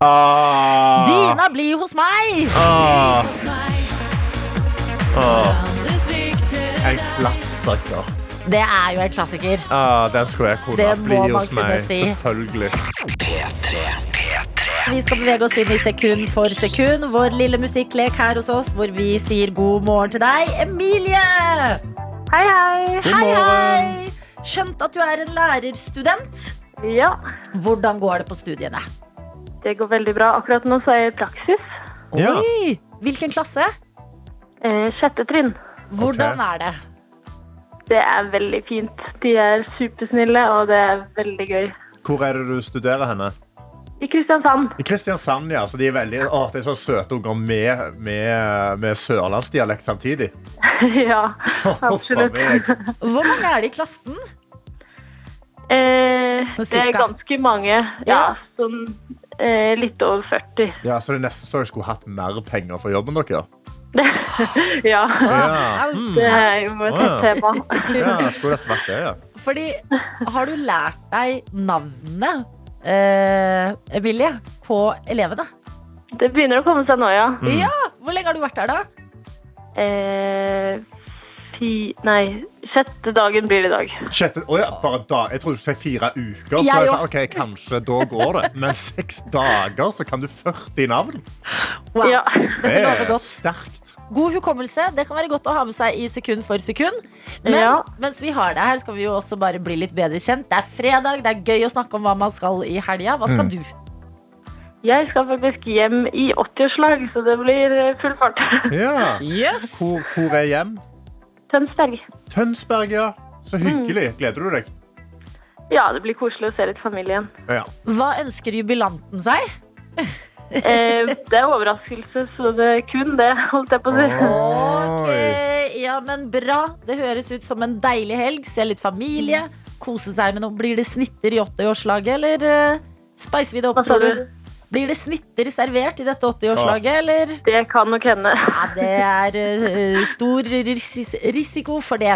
Speaker 3: Ah,
Speaker 2: Dina blir hos meg!
Speaker 3: ah, en klassiker.
Speaker 2: Det er jo en klassiker.
Speaker 3: Ah, den skulle jeg kunne
Speaker 2: Det må
Speaker 3: bli
Speaker 2: man
Speaker 3: hos
Speaker 2: kunne
Speaker 3: meg.
Speaker 2: si.
Speaker 3: Selvfølgelig.
Speaker 2: Vi skal bevege oss inn i sekund for sekund. Vår lille musikklek her hos oss hvor vi sier god morgen til deg, Emilie!
Speaker 6: Hei, hei.
Speaker 3: God
Speaker 2: Hei,
Speaker 3: morgen.
Speaker 2: hei! Skjønt at du er en lærerstudent.
Speaker 6: Ja,
Speaker 2: Hvordan går det på studiene?
Speaker 6: det går veldig bra. Akkurat nå så er jeg i praksis.
Speaker 3: Ja.
Speaker 2: Oi! Hvilken klasse?
Speaker 6: Eh, sjette trinn.
Speaker 2: Hvordan
Speaker 3: Ok.
Speaker 2: er det?
Speaker 6: Det er veldig fint. De er supersnille, og det er veldig gøy.
Speaker 3: Hvor er det du studerer henne?
Speaker 6: I Kristiansand.
Speaker 3: I Kristiansand, ja. Så de er veldig, åh, det er så søte unger med, med, med sørlandsdialekt samtidig.
Speaker 6: ja,
Speaker 3: Faen,
Speaker 6: absolutt.
Speaker 3: det er-
Speaker 2: Hvor mange er det i klassen?
Speaker 6: Eh,
Speaker 2: Sånn
Speaker 6: det er
Speaker 2: cirka.
Speaker 6: ganske mange.
Speaker 2: Ja.
Speaker 6: Ja, sånn eh, litt over 40.
Speaker 3: Ja, så det er nesten så jeg skulle hatt mer penger for jobben dere.
Speaker 6: Ja,
Speaker 3: Ja, Hmm.
Speaker 2: Au.
Speaker 6: det er jo et
Speaker 3: Wow.
Speaker 6: tema.
Speaker 3: ja skulle nesten vært det, ja.
Speaker 2: Fordi, har du lært deg navnet, eh, Emilie, på elevene?
Speaker 6: Det begynner å komme seg nå, ja.
Speaker 2: Ja! Hvor lenge har du vært der, da?
Speaker 6: Eh, fi, nei, sjette dagen blir det i dag.
Speaker 3: Sjette, Å ja, bare da. Jeg trodde du sa fire uker. Så
Speaker 2: Jeg
Speaker 3: jeg sa,
Speaker 2: òg.
Speaker 3: ok, kanskje da går det. Men seks dager, så kan du 40 navn.
Speaker 2: Wow.
Speaker 6: Ja.
Speaker 2: Dette
Speaker 3: Det
Speaker 2: lover
Speaker 3: er
Speaker 2: godt.
Speaker 3: sterkt.
Speaker 2: God hukommelse det kan være godt å ha med seg i sekund for sekund. Men
Speaker 6: Ja.
Speaker 2: mens vi har det her, skal vi jo også bare bli litt bedre kjent. Det er fredag, det er gøy å snakke om hva man skal i helga. Hva skal du?
Speaker 6: Jeg skal faktisk hjem i 80-årslag, så det blir eh, full fart.
Speaker 3: Ja.
Speaker 2: Yes.
Speaker 3: Hvor, hvor er hjem?
Speaker 6: Tønsberg.
Speaker 3: Tønsberg, ja. Så
Speaker 2: Mm.
Speaker 3: hyggelig. Gleder du deg?
Speaker 6: Ja, det blir koselig å se litt familien.
Speaker 3: Ja.
Speaker 2: Hva ønsker jubilanten seg?
Speaker 6: Eh, det er overraskelse, så det er kun det, holdt jeg på å si.
Speaker 2: Ok,
Speaker 3: Oi.
Speaker 2: ja, men bra. Det høres ut som en deilig helg. Se litt familie. Kose seg med noe. Blir det snitter i 80-årslaget, eller eh, spicer vi det opp,
Speaker 6: Hva sa
Speaker 2: tror du?
Speaker 6: du?
Speaker 2: Blir det snitter servert i dette 80-årslaget, eller?
Speaker 6: Det kan nok hende.
Speaker 2: Nei, det er eh, stor ris risiko for det.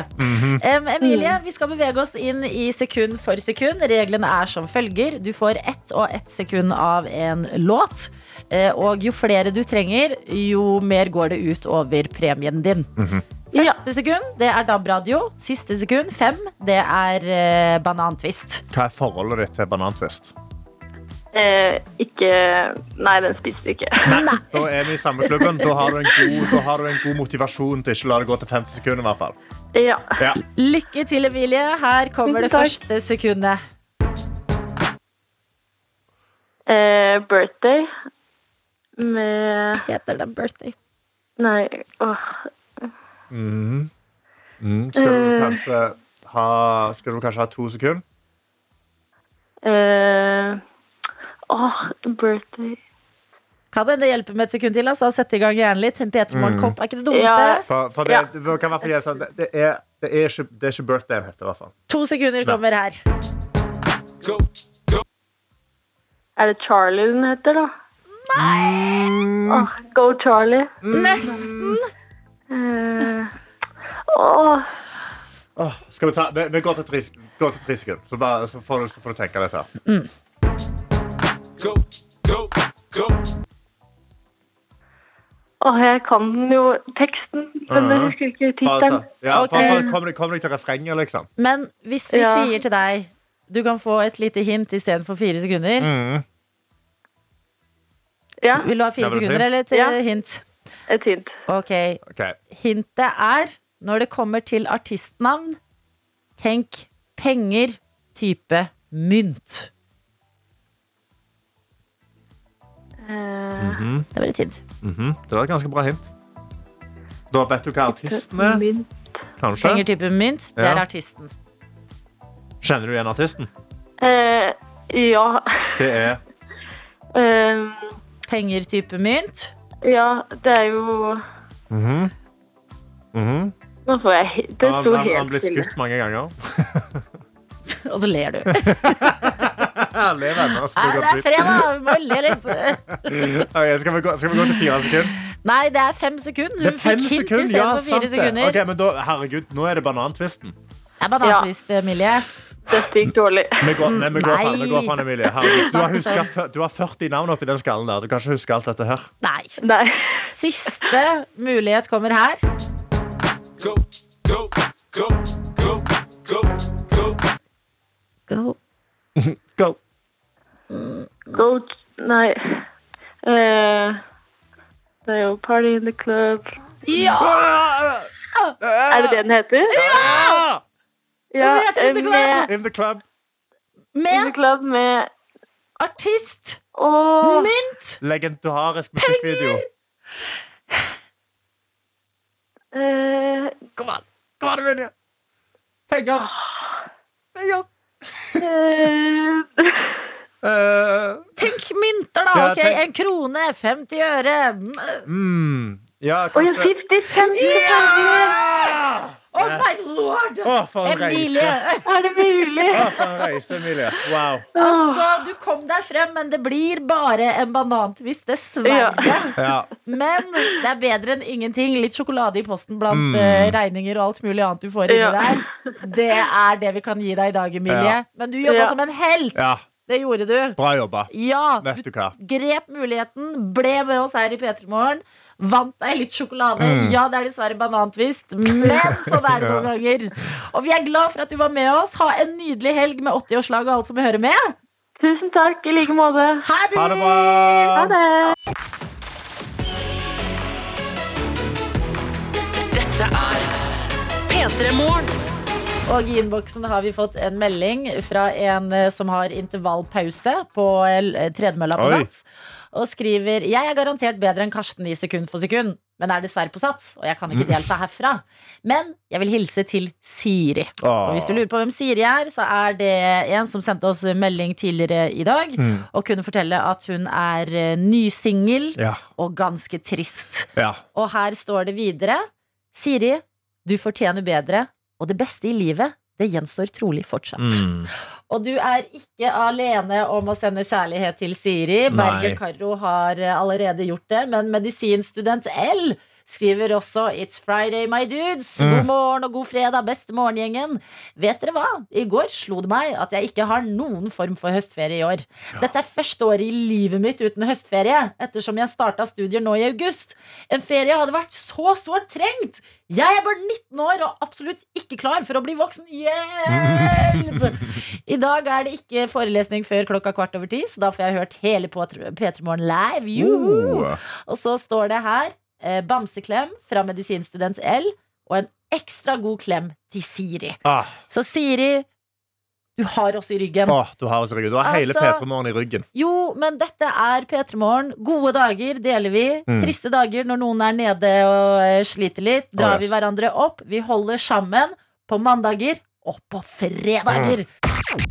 Speaker 2: Em, Emilie, vi skal bevege oss inn i sekund for sekund. Reglene er som følger. Du får ett og ett sekund av en låt. Eh, og jo flere du trenger, jo mer går det ut over premien din. Første sekund, det er DAB-radio. Siste sekund, fem, det er eh, banantvist.
Speaker 3: Hva er forholdet ditt til banantvist?
Speaker 6: Eh, ikke Nei, den spiste vi ikke.
Speaker 3: Nei. Da er vi i samme klubben. Da har du en god, da har du en god motivasjon til ikke å la det gå til 50 sekunder. I hvert fall.
Speaker 6: Ja.
Speaker 3: Ja.
Speaker 2: Lykke til, Emilie. Her kommer det
Speaker 6: Tusen takk.
Speaker 2: første sekundet.
Speaker 6: Eh, birthday med
Speaker 2: Heter den birthday?
Speaker 6: Nei, åh.
Speaker 3: Mm. Skal du kanskje ha, skal du kanskje ha to sekunder?
Speaker 6: Eh, åh, birthday
Speaker 2: Kan hende det hjelper med et sekund til. Altså. Sette i gang hjernen litt. En P3
Speaker 3: Mm.
Speaker 2: Morgenkopp er ikke det dummeste.
Speaker 6: Ja.
Speaker 3: For, for det,
Speaker 6: Ja.
Speaker 3: det, kan i hvert fall gjøre sånn, det, det, er, det, er ikke, det er ikke birthdayen heter, i hvert fall.
Speaker 2: To sekunder kommer her.
Speaker 6: Er det Charlie den heter, da? Nei! Åh, go Charlie.
Speaker 2: Nesten.
Speaker 6: Eh, åh,
Speaker 3: Åh, skal vi, ta, vi, vi går til tre, sek- går til tre sekunder, så, bare, så, får du, så får du tenke litt her.
Speaker 6: åh, jeg kan jo teksten, men jeg husker ikke
Speaker 3: Bare,
Speaker 6: tittelen.
Speaker 3: så, ja,
Speaker 2: Ok.
Speaker 3: bare, for- kom, deg- kom deg til refrenget, liksom.
Speaker 2: Men hvis vi
Speaker 6: Ja.
Speaker 2: sier til deg du kan få et lite hint istedenfor fire sekunder.
Speaker 3: Mm.
Speaker 6: Ja,
Speaker 2: Vil du ha fire
Speaker 3: Det var et
Speaker 2: sekunder
Speaker 3: hint.
Speaker 2: eller et eh,
Speaker 6: Ja.
Speaker 2: hint?
Speaker 6: et hint.
Speaker 2: Ok,
Speaker 3: Ok.
Speaker 2: Hintet er når det kommer til artistnavn, tenk penger, type mynt.
Speaker 6: Eh,
Speaker 3: Mhm.
Speaker 2: Det var et hint.
Speaker 3: Det var et ganske bra hint. Da vet du hva artisten er,
Speaker 6: Eh, min.
Speaker 3: kanskje?
Speaker 2: Penger, type mynt, det er
Speaker 3: Ja.
Speaker 2: artisten.
Speaker 3: Kjenner du igjen artisten?
Speaker 6: Eh, ja.
Speaker 3: Det er
Speaker 6: Eh,
Speaker 2: Penger, type mynt.
Speaker 6: ja, det er jo
Speaker 3: Mhm.
Speaker 6: Nå får jeg he- Det
Speaker 3: Han han-
Speaker 6: sto
Speaker 3: han
Speaker 6: helt
Speaker 3: blitt
Speaker 6: stille.
Speaker 3: skutt mange ganger.
Speaker 2: Og så ler du.
Speaker 3: Alle er venner, så
Speaker 2: Nei,
Speaker 3: det
Speaker 2: det
Speaker 3: går
Speaker 2: er
Speaker 3: fint.
Speaker 2: fredag, vi må le litt.
Speaker 3: Ok, skal, vi gå, skal vi gå til fire sekunder?
Speaker 2: Nei, det er fem sekunder. Hun fikk hint istedenfor fire sekunder.
Speaker 3: Ok, men da, herregud, nå er det banantvisten.
Speaker 2: Det er banantvist, Emilie.
Speaker 6: Dette gikk dårlig.
Speaker 3: Vi går, nei, vi går
Speaker 2: Nei. sånn.
Speaker 3: faen, vi går faen, Emilie. Herregud, du, har
Speaker 2: Snakkes
Speaker 3: huska fyr- du har 40 navn oppi den skallen der. Du kan ikke huske alt dette her.
Speaker 2: Nei.
Speaker 6: Nei.
Speaker 2: Siste mulighet kommer her. Go.
Speaker 3: Go.
Speaker 6: Go Nei. Eh, det er jo Party in the Club.
Speaker 2: Ah!
Speaker 6: Er det det den heter?
Speaker 3: Ah!
Speaker 6: Ja,
Speaker 2: Den heter In the
Speaker 6: eh,
Speaker 2: Club.
Speaker 6: med
Speaker 3: In the club.
Speaker 6: In the
Speaker 2: Med
Speaker 6: Club med
Speaker 2: artist
Speaker 6: Åh,
Speaker 2: Mynt.
Speaker 3: Legendarisk musikkvideo.
Speaker 6: eh,
Speaker 3: Kom an, Emilie. Penger. Penger.
Speaker 6: eh,
Speaker 3: Eh,
Speaker 2: Tenk mynter, da.
Speaker 3: Ja,
Speaker 2: Ok,
Speaker 3: tenk-
Speaker 2: En krone, 50 øre. Mm.
Speaker 3: mm, ja,
Speaker 6: Oi,
Speaker 3: kanskje
Speaker 6: 50 cent!
Speaker 2: Oh my lord!
Speaker 3: Å, for en
Speaker 2: Emilie!
Speaker 3: reise.
Speaker 6: Er det mulig?
Speaker 3: Å, for en reise, Emilie. Wow.
Speaker 2: Altså, du kom deg frem, men det blir bare en banantvist, dessverre.
Speaker 3: Ja.
Speaker 2: Men det er bedre enn ingenting. Litt sjokolade i posten blant
Speaker 3: Mm.
Speaker 2: eh, regninger og alt mulig annet du får inni
Speaker 6: Ja.
Speaker 2: der. Det er det vi kan gi deg i dag, Emilie.
Speaker 3: Ja.
Speaker 2: Men du jobba
Speaker 6: Ja.
Speaker 2: som en helt.
Speaker 3: ja.
Speaker 2: Det gjorde du.
Speaker 3: Bra jobba.
Speaker 2: Ja, du
Speaker 3: Vet du hva.
Speaker 2: grep muligheten, ble med oss her i P3 Morgen. Vant deg litt sjokolade.
Speaker 3: Mm.
Speaker 2: Ja, det er dessverre banantvist, men sånn er det noen ganger. Og vi er glad for at du var med oss. Ha en nydelig helg med 80-årslag og alt som hører med.
Speaker 6: Tusen takk, i like måte.
Speaker 2: Ha det!
Speaker 3: Ha det bra.
Speaker 6: Ha det!
Speaker 1: Dette er P3 Morgen.
Speaker 2: Og i innboksen har vi fått en melding fra en eh, som har intervallpause på eh, tredemølla på
Speaker 3: Oi.
Speaker 2: Sats. Og skriver Jeg er garantert bedre enn Karsten i sekund for sekund, men er dessverre på Sats, og jeg kan ikke delta herfra. Men jeg vil hilse til Siri.
Speaker 3: Åh.
Speaker 2: Og hvis du lurer på hvem Siri er, så er det en som sendte oss melding tidligere i dag
Speaker 3: Mm.
Speaker 2: og kunne fortelle at hun er eh, nysingel
Speaker 3: Ja.
Speaker 2: og ganske trist.
Speaker 3: ja.
Speaker 2: Og her står det videre Siri, du fortjener bedre, og det beste i livet, det gjenstår trolig fortsatt.
Speaker 3: Mm.
Speaker 2: Og du er ikke alene om å sende kjærlighet til Siri.
Speaker 3: Nei.
Speaker 2: Berger Karro har eh, allerede gjort det, men medisinstudent L skriver også 'It's Friday, my dudes'. God
Speaker 3: Mm.
Speaker 2: morgen og god fredag, beste morgengjengen. Vet dere hva? I går slo det meg at jeg ikke har noen form for høstferie i år. Dette er første året i livet mitt uten høstferie, ettersom jeg starta studier nå i august. En ferie hadde vært så sårt trengt. Jeg er bare 19 år og absolutt ikke klar for å bli voksen. Hjelp! I dag er det ikke forelesning før klokka kvart over ti, så da får jeg hørt hele P3 Morgen live. Juhu!
Speaker 3: Uh.
Speaker 2: Og så står det her eh, bamseklem fra medisinstudent L og en ekstra god klem til Siri.
Speaker 3: Ah,
Speaker 2: Så Siri, du har oss i ryggen.
Speaker 3: åh, du har altså ryggen. Du har hele
Speaker 2: Altså-
Speaker 3: P3 Morgen i ryggen.
Speaker 2: Jo, men dette er P3 Morgen. Gode dager deler vi.
Speaker 3: Mm.
Speaker 2: Triste dager når noen er nede og eh, sliter litt. Drar
Speaker 3: Å,
Speaker 2: vi
Speaker 3: yes.
Speaker 2: hverandre opp. Vi holder sammen på mandager og på fredager.
Speaker 3: Mm.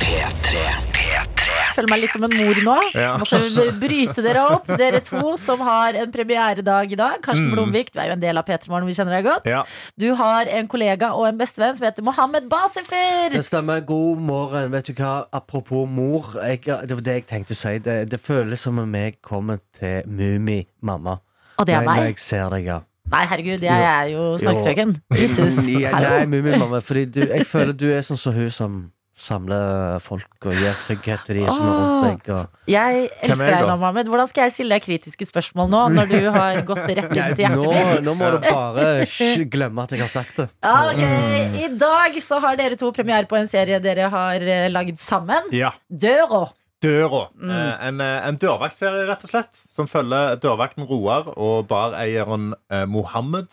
Speaker 2: Jeg Føler meg litt som en mor nå.
Speaker 3: Ja.
Speaker 2: Måtte bryte dere opp, dere to som har en premieredag i dag. Karsten
Speaker 3: Mm.
Speaker 2: Blomvik, du er jo en del av P3 Morgen, vi kjenner deg godt.
Speaker 3: Ja.
Speaker 2: Du har en kollega og en bestevenn som heter Mohammed Basifer.
Speaker 7: Det stemmer. God morgen. Vet du hva? Apropos mor. Jeg, det var det jeg tenkte å si. Det, det føles som om jeg kommer til Mummi-mamma.
Speaker 2: Og det er
Speaker 7: Når
Speaker 2: meg.
Speaker 7: jeg ser deg, ja.
Speaker 2: Nei, herregud, jeg er jo snakkefrøken. Jesus.
Speaker 7: Ja,
Speaker 2: Hallo.
Speaker 7: Nei, Mummi-mamma. Fordi du, jeg føler du er sånn som hun som samler folk og gir trygghet til de som er rundt deg. Og...
Speaker 2: Jeg
Speaker 3: Hvem er
Speaker 2: elsker
Speaker 3: jeg
Speaker 2: deg
Speaker 3: da?
Speaker 2: nå, Mohammed. Hvordan skal jeg stille deg kritiske spørsmål nå? Når du har gått rett inn til hjertet
Speaker 7: Nå,
Speaker 2: mitt
Speaker 7: nå må du bare sh- glemme at jeg har sagt det.
Speaker 2: ja, ok. I dag så har dere to premiere på en serie dere har eh, lagd sammen.
Speaker 3: ja.
Speaker 2: Døra.
Speaker 3: Døra.
Speaker 2: Mm.
Speaker 3: Eh, en eh, en dørvaktserie, rett og slett, som følger dørvakten Roar og bareieren eh, Mohammed.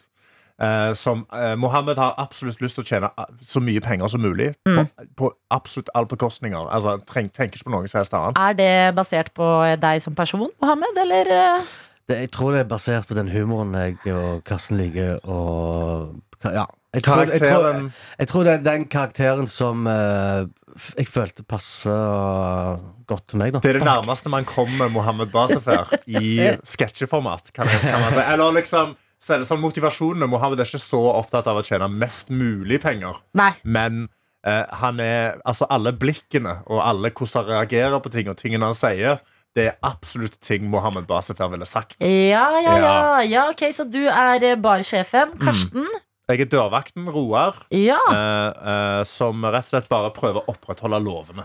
Speaker 3: Eh, som eh, Mohammed har absolutt lyst til å tjene a- så mye penger som mulig.
Speaker 2: Mm.
Speaker 3: På, på absolutt alle bekostninger. Altså, han treng, tenker ikke på noe som helst annet.
Speaker 2: Er det basert på deg som person, Mohammed, eller? eh?
Speaker 7: det. Jeg tror det er basert på den humoren jeg og Karsten liker, og Ja. Jeg tror, jeg, tror,
Speaker 3: Karakteren
Speaker 7: Jeg tror det er den karakteren som eh, f- jeg følte passer godt til meg, da.
Speaker 3: Det er det nærmeste man kommer Mohammed Basefer i sketsjeformat. Kan jeg, kan man si. Eller liksom så er det sånn motivasjonen. Mohammed er ikke så opptatt av å tjene mest mulig penger.
Speaker 2: Nei.
Speaker 3: Men eh, han er, altså alle blikkene og alle hvordan han reagerer på ting og tingene han sier, det er absolutt ting Mohammed Basefer ville sagt.
Speaker 2: Ja, ja, ja. ja ok, Så du er eh,
Speaker 3: Mm.
Speaker 2: barsjefen. Karsten.
Speaker 3: Jeg er dørvakten Roar,
Speaker 2: Ja.
Speaker 3: eh, eh, som rett og slett bare prøver å opprettholde lovene.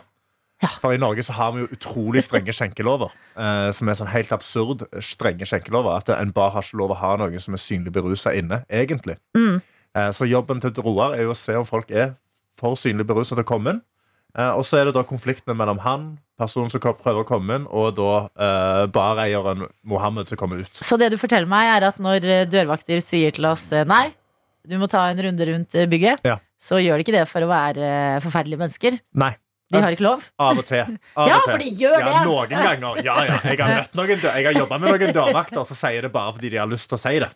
Speaker 3: For i Norge så har vi jo utrolig strenge skjenkelover, eh, som er sånn helt absurd strenge skjenkelover. At en bar har ikke lov å ha noen som er synlig berusa inne, egentlig.
Speaker 2: Mm.
Speaker 3: Eh, så jobben til Roar er jo å se om folk er for synlig berusa til å komme inn. Eh, og så er det da konfliktene mellom han, personen som prøver å komme inn, og da eh, bareieren Mohammed som kommer ut.
Speaker 2: Så det du forteller meg, er at når eh, dørvakter sier til oss eh, nei, du må ta en runde rundt eh, bygget,
Speaker 3: Ja.
Speaker 2: så gjør de ikke det for å være eh, forferdelige mennesker.
Speaker 3: Nei.
Speaker 2: De har ikke lov.
Speaker 3: Av og til. Av
Speaker 2: Ja,
Speaker 3: og til.
Speaker 2: for de gjør
Speaker 3: Ja,
Speaker 2: det.
Speaker 3: noen ganger. Ja, ja. Jeg har møtt noen dø- Jeg har jobba med noen dørvakter som sier det bare fordi de har lyst til å si det.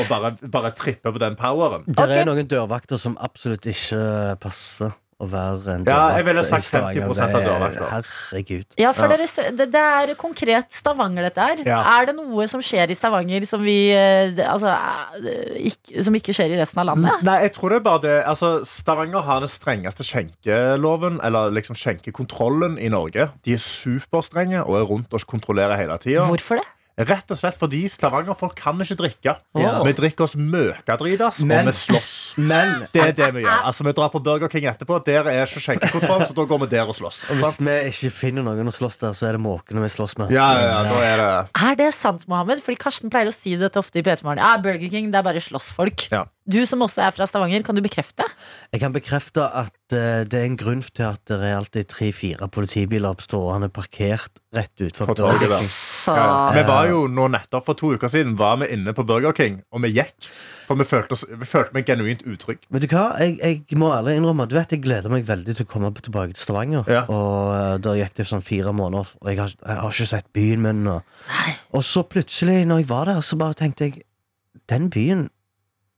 Speaker 3: Og bare, bare tripper på den poweren.
Speaker 7: Det
Speaker 2: Ok.
Speaker 7: er noen dørvakter som absolutt ikke passer å være en dørvakt.
Speaker 3: Ja, jeg ville
Speaker 7: i
Speaker 3: sagt 50%
Speaker 7: Stavanger.
Speaker 3: av
Speaker 7: Det er-
Speaker 3: dørvakter.
Speaker 7: Herregud.
Speaker 2: Ja, for
Speaker 3: Ja.
Speaker 2: Dere, se- det, det er konkret Stavanger, dette her.
Speaker 3: Ja.
Speaker 2: Er det noe som skjer i Stavanger som, vi, eh, det- altså, eh, ikke, som ikke skjer i resten av landet?
Speaker 3: Nei, jeg tror det er bare det altså, Stavanger har den strengeste skjenkeloven, eller liksom skjenkekontrollen i Norge. De er superstrenge og er rundt og kontrollerer hele tida.
Speaker 2: Hvorfor det?
Speaker 3: Rett og slett fordi stavangerfolk kan ikke drikke.
Speaker 7: Ja.
Speaker 3: Vi drikker oss møkadritas,
Speaker 7: Men-
Speaker 3: og vi slåss.
Speaker 7: Men
Speaker 3: Det er det vi gjør. Altså, vi drar på Burger King etterpå. Der er ikke skjenkekontroll, så da går vi der og slåss.
Speaker 7: hvis
Speaker 3: Sant?
Speaker 7: vi ikke finner noen å slåss der, så er det måkene vi slåss med.
Speaker 3: Ja, ja, ja, da er det
Speaker 2: Er det sant, Mohammed? Fordi Karsten pleier å si dette ofte i P3 Morgen. Ja, Burger King, det er bare slåssfolk.
Speaker 3: Ja.
Speaker 2: Du som også er fra Stavanger, kan du bekrefte?
Speaker 7: Jeg kan bekrefte at eh, det er en grunn til at det er alltid tre-fire politibiler på stående parkert rett utenfor
Speaker 3: På torget der.
Speaker 2: Så
Speaker 3: Ja, Vi var jo nå nettopp for to uker siden Var vi inne på Burger King, og vi gikk. For vi følte, oss, vi følte meg genuint utrygg.
Speaker 7: Vet du hva, jeg, jeg må ærlig innrømme at Du vet, jeg gleder meg veldig til å komme tilbake til Stavanger.
Speaker 3: Ja.
Speaker 7: Og eh, Da gikk det sånn fire måneder, og jeg har, jeg har ikke sett byen min. Og, og så plutselig, når jeg var der, så bare tenkte jeg Den byen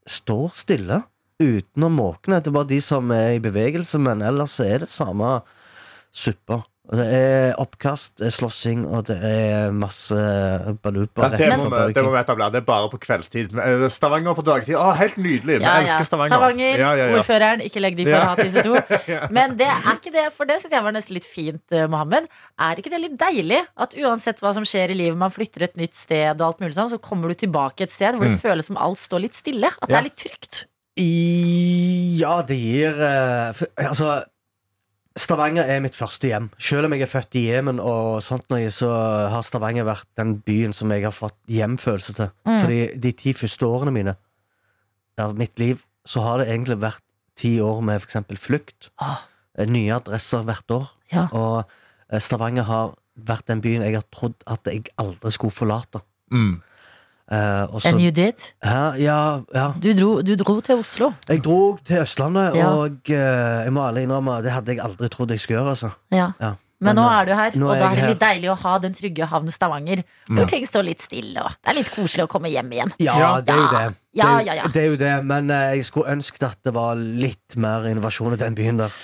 Speaker 7: står stille uten å måkne. Det er bare de som er i bevegelse, men ellers så er det samme suppa. Og Det er oppkast, det er slåssing, og det er masse baluba.
Speaker 3: Ja, det,
Speaker 7: rett
Speaker 3: må
Speaker 7: for
Speaker 3: vi,
Speaker 7: Burger
Speaker 3: det
Speaker 7: King.
Speaker 3: må vi etablere. Det er bare på kveldstid. Men, eh, Stavanger på dagtid. Å, helt nydelig. Vi
Speaker 2: Ja, ja.
Speaker 3: elsker Stavanger. Ja, ja, ja.
Speaker 2: ordføreren. Ikke legg de for
Speaker 3: Ja.
Speaker 2: hat, disse to. Men det er ikke det, for det syns jeg var nesten litt fint, eh, Mohammed. Er ikke det litt deilig at uansett hva som skjer i livet, man flytter et nytt sted og alt mulig sånn, så kommer du tilbake et sted hvor det føles som alt står litt stille? At det
Speaker 3: Ja.
Speaker 2: er litt trygt?
Speaker 7: I, ja, det gir eh, f- Altså Stavanger er mitt første hjem. Selv om jeg er født i Jemen, og sånt noe, så har Stavanger vært den byen som jeg har fått hjemfølelse til.
Speaker 2: Mm.
Speaker 7: Fordi de ti første årene mine av mitt liv, så har det egentlig vært ti år med f.eks. flukt.
Speaker 2: Ah.
Speaker 7: Eh, Nye adresser hvert år.
Speaker 2: Ja.
Speaker 7: Og eh, Stavanger har vært den byen jeg har trodd at jeg aldri skulle forlate.
Speaker 3: Mm.
Speaker 7: Eh, og så,
Speaker 2: And you did.
Speaker 7: Hæ? ja, ja,
Speaker 2: Du dro, du dro til Oslo.
Speaker 7: jeg dro til Østlandet,
Speaker 2: Ja.
Speaker 7: og eh, jeg må ærlig innrømme det hadde jeg aldri trodd jeg skulle gjøre. Altså.
Speaker 2: Ja.
Speaker 7: Ja.
Speaker 2: Men nå er du her, og
Speaker 7: nå er
Speaker 2: da er
Speaker 7: jeg
Speaker 2: det litt deilig å ha den trygge havnen Stavanger. Hvor
Speaker 3: Ja.
Speaker 2: ting står litt stille, og det er litt koselig å komme hjem igjen.
Speaker 7: Ja,
Speaker 3: Ja.
Speaker 7: det er jo det.
Speaker 2: Ja,
Speaker 7: det, er,
Speaker 2: ja,
Speaker 7: jo-
Speaker 2: ja.
Speaker 7: det er jo det, men eh, jeg skulle ønske at det var litt mer innovasjon i den byen der.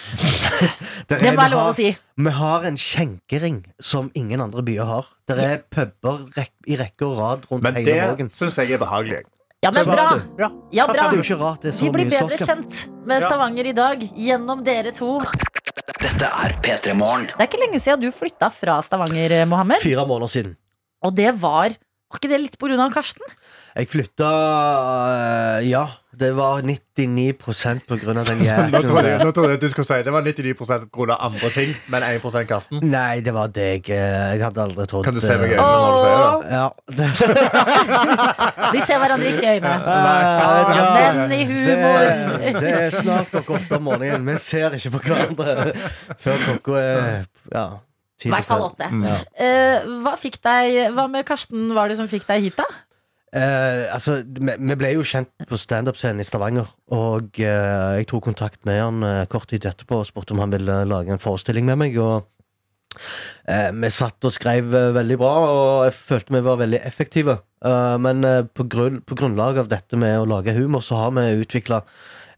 Speaker 2: Det
Speaker 7: Der er-
Speaker 2: må
Speaker 7: vi
Speaker 2: jeg lov
Speaker 7: har-
Speaker 2: å si.
Speaker 7: Vi har en skjenkering som ingen andre byer har. Det er puber rek i rekke og rad rundt
Speaker 3: Men
Speaker 7: hele
Speaker 3: det
Speaker 7: Norge.
Speaker 3: syns jeg er behagelig.
Speaker 2: Ja, men
Speaker 7: Svarte.
Speaker 2: bra!
Speaker 3: Ja.
Speaker 2: Ja,
Speaker 7: Det
Speaker 2: bra.
Speaker 7: er jo ikke rart det er
Speaker 2: Vi
Speaker 7: så
Speaker 2: blir
Speaker 7: mye
Speaker 2: bedre
Speaker 7: slåsskamp.
Speaker 2: kjent med
Speaker 3: Ja.
Speaker 2: Stavanger i dag gjennom dere to.
Speaker 5: Dette er P3 Morgen.
Speaker 2: Det er ikke lenge siden du flytta fra Stavanger, eh, Mohammed.
Speaker 7: Fire måneder siden.
Speaker 2: Og det var Var ikke det litt på grunn av Karsten?
Speaker 7: Jeg flytta eh, Ja, det var 99 på grunn av den
Speaker 3: Nå trodde jeg,
Speaker 7: jævla
Speaker 3: nå trodde jeg du skulle si Det var 99 grunn av andre ting, men 1 Karsten.
Speaker 7: Nei, det var deg. eh, Jeg hadde aldri trodd
Speaker 3: Kan du se meg i
Speaker 7: eh,
Speaker 3: øynene når du sier det?
Speaker 7: Ja, det,
Speaker 2: De ser hverandre ikke i øynene.
Speaker 3: Nei,
Speaker 7: Ja,
Speaker 3: ja,
Speaker 2: Menn i
Speaker 7: det,
Speaker 2: humor.
Speaker 7: det er snart klokka åtte om morgenen. Vi ser ikke på hverandre før klokka er ja, ti
Speaker 2: I
Speaker 7: på
Speaker 2: hvert fall
Speaker 7: fem.
Speaker 2: åtte.
Speaker 7: Ja.
Speaker 2: Eh, hva fikk deg Hva med Karsten var det som fikk deg hit, da?
Speaker 7: Eh, altså, vi, vi ble jo kjent på standup-scenen i Stavanger. Og eh, jeg tok kontakt med han eh, kort tid etterpå og spurte om han ville lage en forestilling med meg. Og eh, vi satt og skrev eh, veldig bra, og jeg følte vi var veldig effektive. Eh, men eh, på, grunn, på grunnlag av dette med å lage humor, så har vi utvikla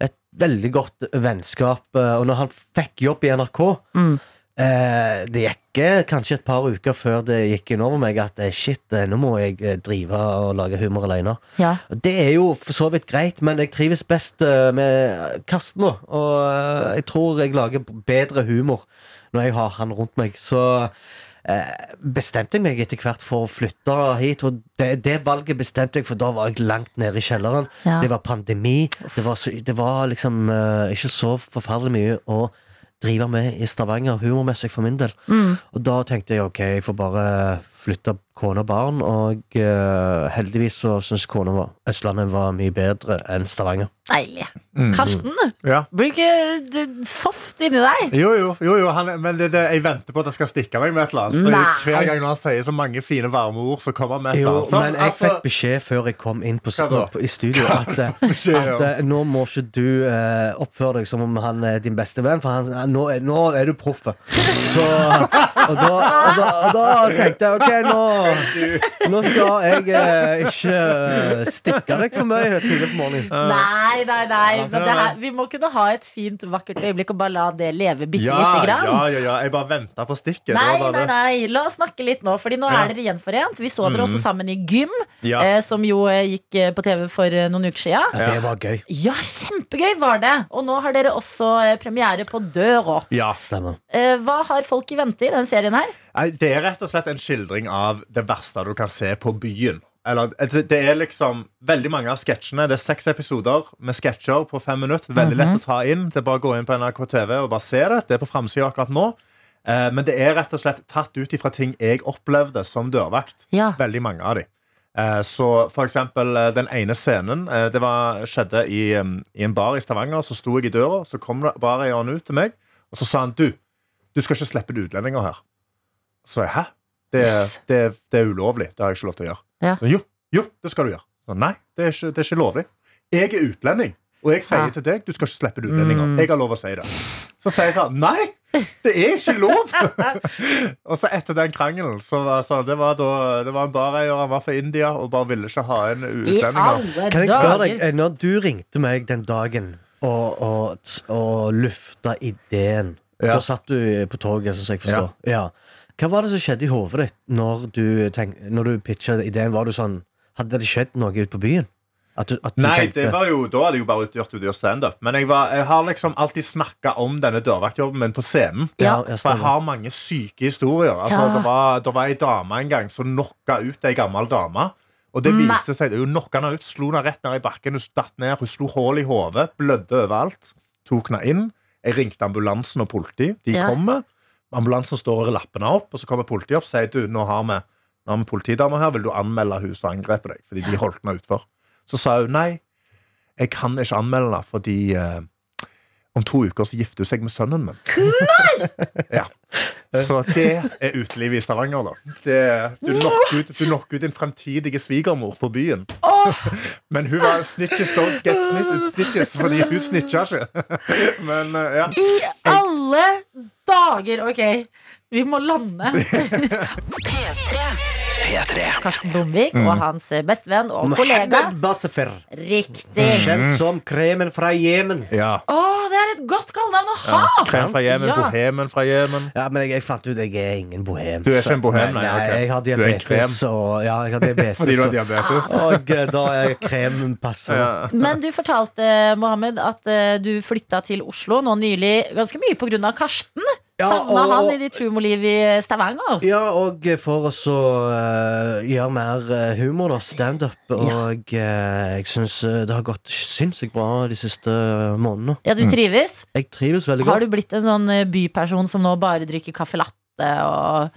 Speaker 7: et veldig godt vennskap. eh, og når han fikk jobb i NRK
Speaker 2: Mm.
Speaker 7: Eh, det gikk eh, kanskje et par uker før det gikk inn over meg at eh, shit, eh, nå må jeg eh, drive og lage humor alene.
Speaker 2: Ja.
Speaker 7: Og Det er jo for så vidt greit, men jeg trives best eh, med Karsten nå. Og eh, jeg tror jeg lager b- bedre humor når jeg har han rundt meg. Så eh, bestemte jeg meg etter hvert for å flytte hit, og det, det valget bestemte jeg, for da var jeg langt nede i kjelleren.
Speaker 2: Ja.
Speaker 7: Det var pandemi. Det var, så, det var liksom eh, ikke så forferdelig mye å drive med i Stavanger humormessig for min del.
Speaker 2: Mm.
Speaker 7: Og da tenkte jeg ok, jeg får bare flytte kone og barn, og eh, heldigvis så syns kona var Østlandet var mye bedre enn Stavanger.
Speaker 2: Deilig.
Speaker 3: Mm.
Speaker 2: Karsten,
Speaker 3: Ja.
Speaker 2: blir ikke det soft inni deg?
Speaker 3: Jo, jo, jo, jo han, men det, det, jeg venter på at jeg skal stikke meg med et eller annet.
Speaker 2: Nei.
Speaker 3: Fordi hver gang når han sier så mange fine varme ord, så kommer han med et
Speaker 7: Jo,
Speaker 3: eller annet. Sånn,
Speaker 7: men jeg
Speaker 3: altså,
Speaker 7: fikk beskjed før jeg kom inn på,
Speaker 3: Hva da?
Speaker 7: på, i studio at, eh,
Speaker 3: beskjed
Speaker 7: at
Speaker 2: Altså,
Speaker 7: eh, nå må ikke du eh, oppføre deg som om han er din beste venn, for han, han, nå, er- nå er du proff. Så og da, og, da, og da tenkte jeg ok, nå, nå skal jeg eh, ikke eh, stikke deg for mye tidlig på morgenen.
Speaker 2: Nei, nei, nei. Men det her, vi må kunne ha et fint, vakkert øyeblikk og bare la det leve bitte
Speaker 3: ja,
Speaker 2: lite
Speaker 3: ja,
Speaker 2: grann.
Speaker 3: ja, ja, jeg bare venta på stikket. Det
Speaker 2: Nei,
Speaker 3: var
Speaker 2: nei,
Speaker 3: bare det.
Speaker 2: nei, la oss snakke litt nå, Fordi nå
Speaker 3: Ja. Mm.
Speaker 2: er dere gjenforent. Vi så dere også sammen i gym,
Speaker 3: Ja.
Speaker 2: eh, som jo eh, gikk eh, på TV for eh, noen uker siden.
Speaker 7: Ja, det var gøy.
Speaker 2: Ja, kjempegøy var det! Og nå har dere også eh, premiere på Døra.
Speaker 3: Ja.
Speaker 7: Stemmer.
Speaker 2: Eh, hva har folk i vente i den serien her?
Speaker 3: Nei, Det er rett og slett en skildring av det verste du kan se på byen. Eller, det det er liksom veldig mange av sketsjene. Det er seks episoder med sketsjer på fem minutter. Veldig
Speaker 2: Mhm.
Speaker 3: lett å ta inn. Det er bare å gå inn på NRK TV og bare se det. Det er på fremsiden akkurat nå. Eh, Men det er rett og slett tatt ut ifra ting jeg opplevde som dørvakt.
Speaker 2: Ja.
Speaker 3: Veldig mange av de. Eh, Så for eksempel eh, den ene scenen eh, Det var, skjedde i, eh, i en bar i Stavanger. Så sto jeg i døra, så kom det- bareieren ut til meg, og så sa han du, du skal ikke slippe ut utlendinger her. Så sa jeg hæ? Det, er-
Speaker 2: Yes.
Speaker 3: det, er- det er ulovlig. Det har jeg ikke lov til å gjøre.
Speaker 2: Ja.
Speaker 3: Så, jo, jo, det skal du gjøre. Så, Nei, det er, ikke, det er ikke lovlig. Jeg er utlending, og jeg sier
Speaker 2: Ja. Mm.
Speaker 3: til deg du skal ikke slippe ut utlendinger. Jeg har lov å si det. Så sier jeg sånn Nei, det er ikke lov! og så etter den krangelen så var så det, var da, det var en bareier, han var fra India og bare ville ikke ha inn
Speaker 2: I
Speaker 3: utlendinger.
Speaker 2: alle
Speaker 7: Kan jeg spørre deg,
Speaker 2: dager!
Speaker 7: eh, når du ringte meg den dagen og, og, t- og lufta ideen
Speaker 3: Ja.
Speaker 7: Da satt du på toget, sånn som jeg forstår. Ja. Hva var det som skjedde i hodet ditt når du, tenk, når du pitcha ideen? Var du sånn, hadde det skjedd noe ute på byen? At du, at du
Speaker 3: Nei,
Speaker 7: tenkte
Speaker 3: det var jo, da hadde jeg jo bare gjort ut gjort standup. Men jeg, var, jeg har liksom alltid snakka om denne dørvaktjobben min på scenen.
Speaker 2: Ja.
Speaker 7: ja, ja,
Speaker 3: For jeg
Speaker 7: stemmer.
Speaker 3: har mange syke historier. Altså,
Speaker 2: Ja.
Speaker 3: det, var, det var ei dame en gang som knocka ut ei gammel dame. Og det viste seg, hun knocka henne ut, slo henne rett ned i bakken, hun datt ned, hun slo hull i hodet, blødde overalt. Tok henne inn. Jeg ringte ambulansen og politi. De
Speaker 2: Ja.
Speaker 3: kommer. Ambulansen står og lapper henne opp, og så kommer politiet opp og sier du, nå har vi nå har vi en politidame her, vil du anmelde hun som angrep deg? Fordi de holdt henne utfor. Så sa hun nei, jeg kan ikke anmelde henne fordi eh, om to uker så gifter hun seg med sønnen min. Ja. Så det er utelivet i Stavanger, da. Det, du knocker ut, du knocker ut din fremtidige svigermor på byen. Men hun var snitches don't get snitches, snitches fordi hun snitcha ikke. Men eh, ja.
Speaker 2: I alle dager! Ok, vi må lande. Karsten Blomvik og hans bestevenn og kollega. Mm.
Speaker 7: Mohammed Bassefer,
Speaker 2: Riktig.
Speaker 7: kjent som kremen fra Jemen.
Speaker 3: ja.
Speaker 2: Å, det er et godt kallenavn å ha!
Speaker 3: Krem fra Jemen,
Speaker 2: Ja.
Speaker 3: bohemen fra Jemen.
Speaker 7: Ja, men jeg, jeg fant ut jeg er ingen bohem.
Speaker 3: Du er ikke
Speaker 7: så-
Speaker 3: en bohem, nei, ok.
Speaker 7: Jeg har
Speaker 3: Du er en
Speaker 7: diabetes, og ja, jeg har diabetes.
Speaker 3: Fordi du har
Speaker 7: og-
Speaker 3: diabetes.
Speaker 7: Og eh, da er kremen passende.
Speaker 2: Men du fortalte, Mohammed, at eh, du flytta til Oslo nå nylig ganske mye pga. Karsten.
Speaker 7: Ja,
Speaker 2: Savna
Speaker 7: og-
Speaker 2: han i ditt humorliv i Stavanger.
Speaker 7: Ja, og for oss å eh, gjøre mer eh, humor, da, standup. Og eh, jeg syns det har gått sinnssykt bra de siste eh, månedene.
Speaker 2: Ja, du trives?
Speaker 7: Jeg trives veldig
Speaker 2: Har
Speaker 7: godt.
Speaker 2: du blitt en sånn eh, byperson som nå bare drikker caffè latte og eh,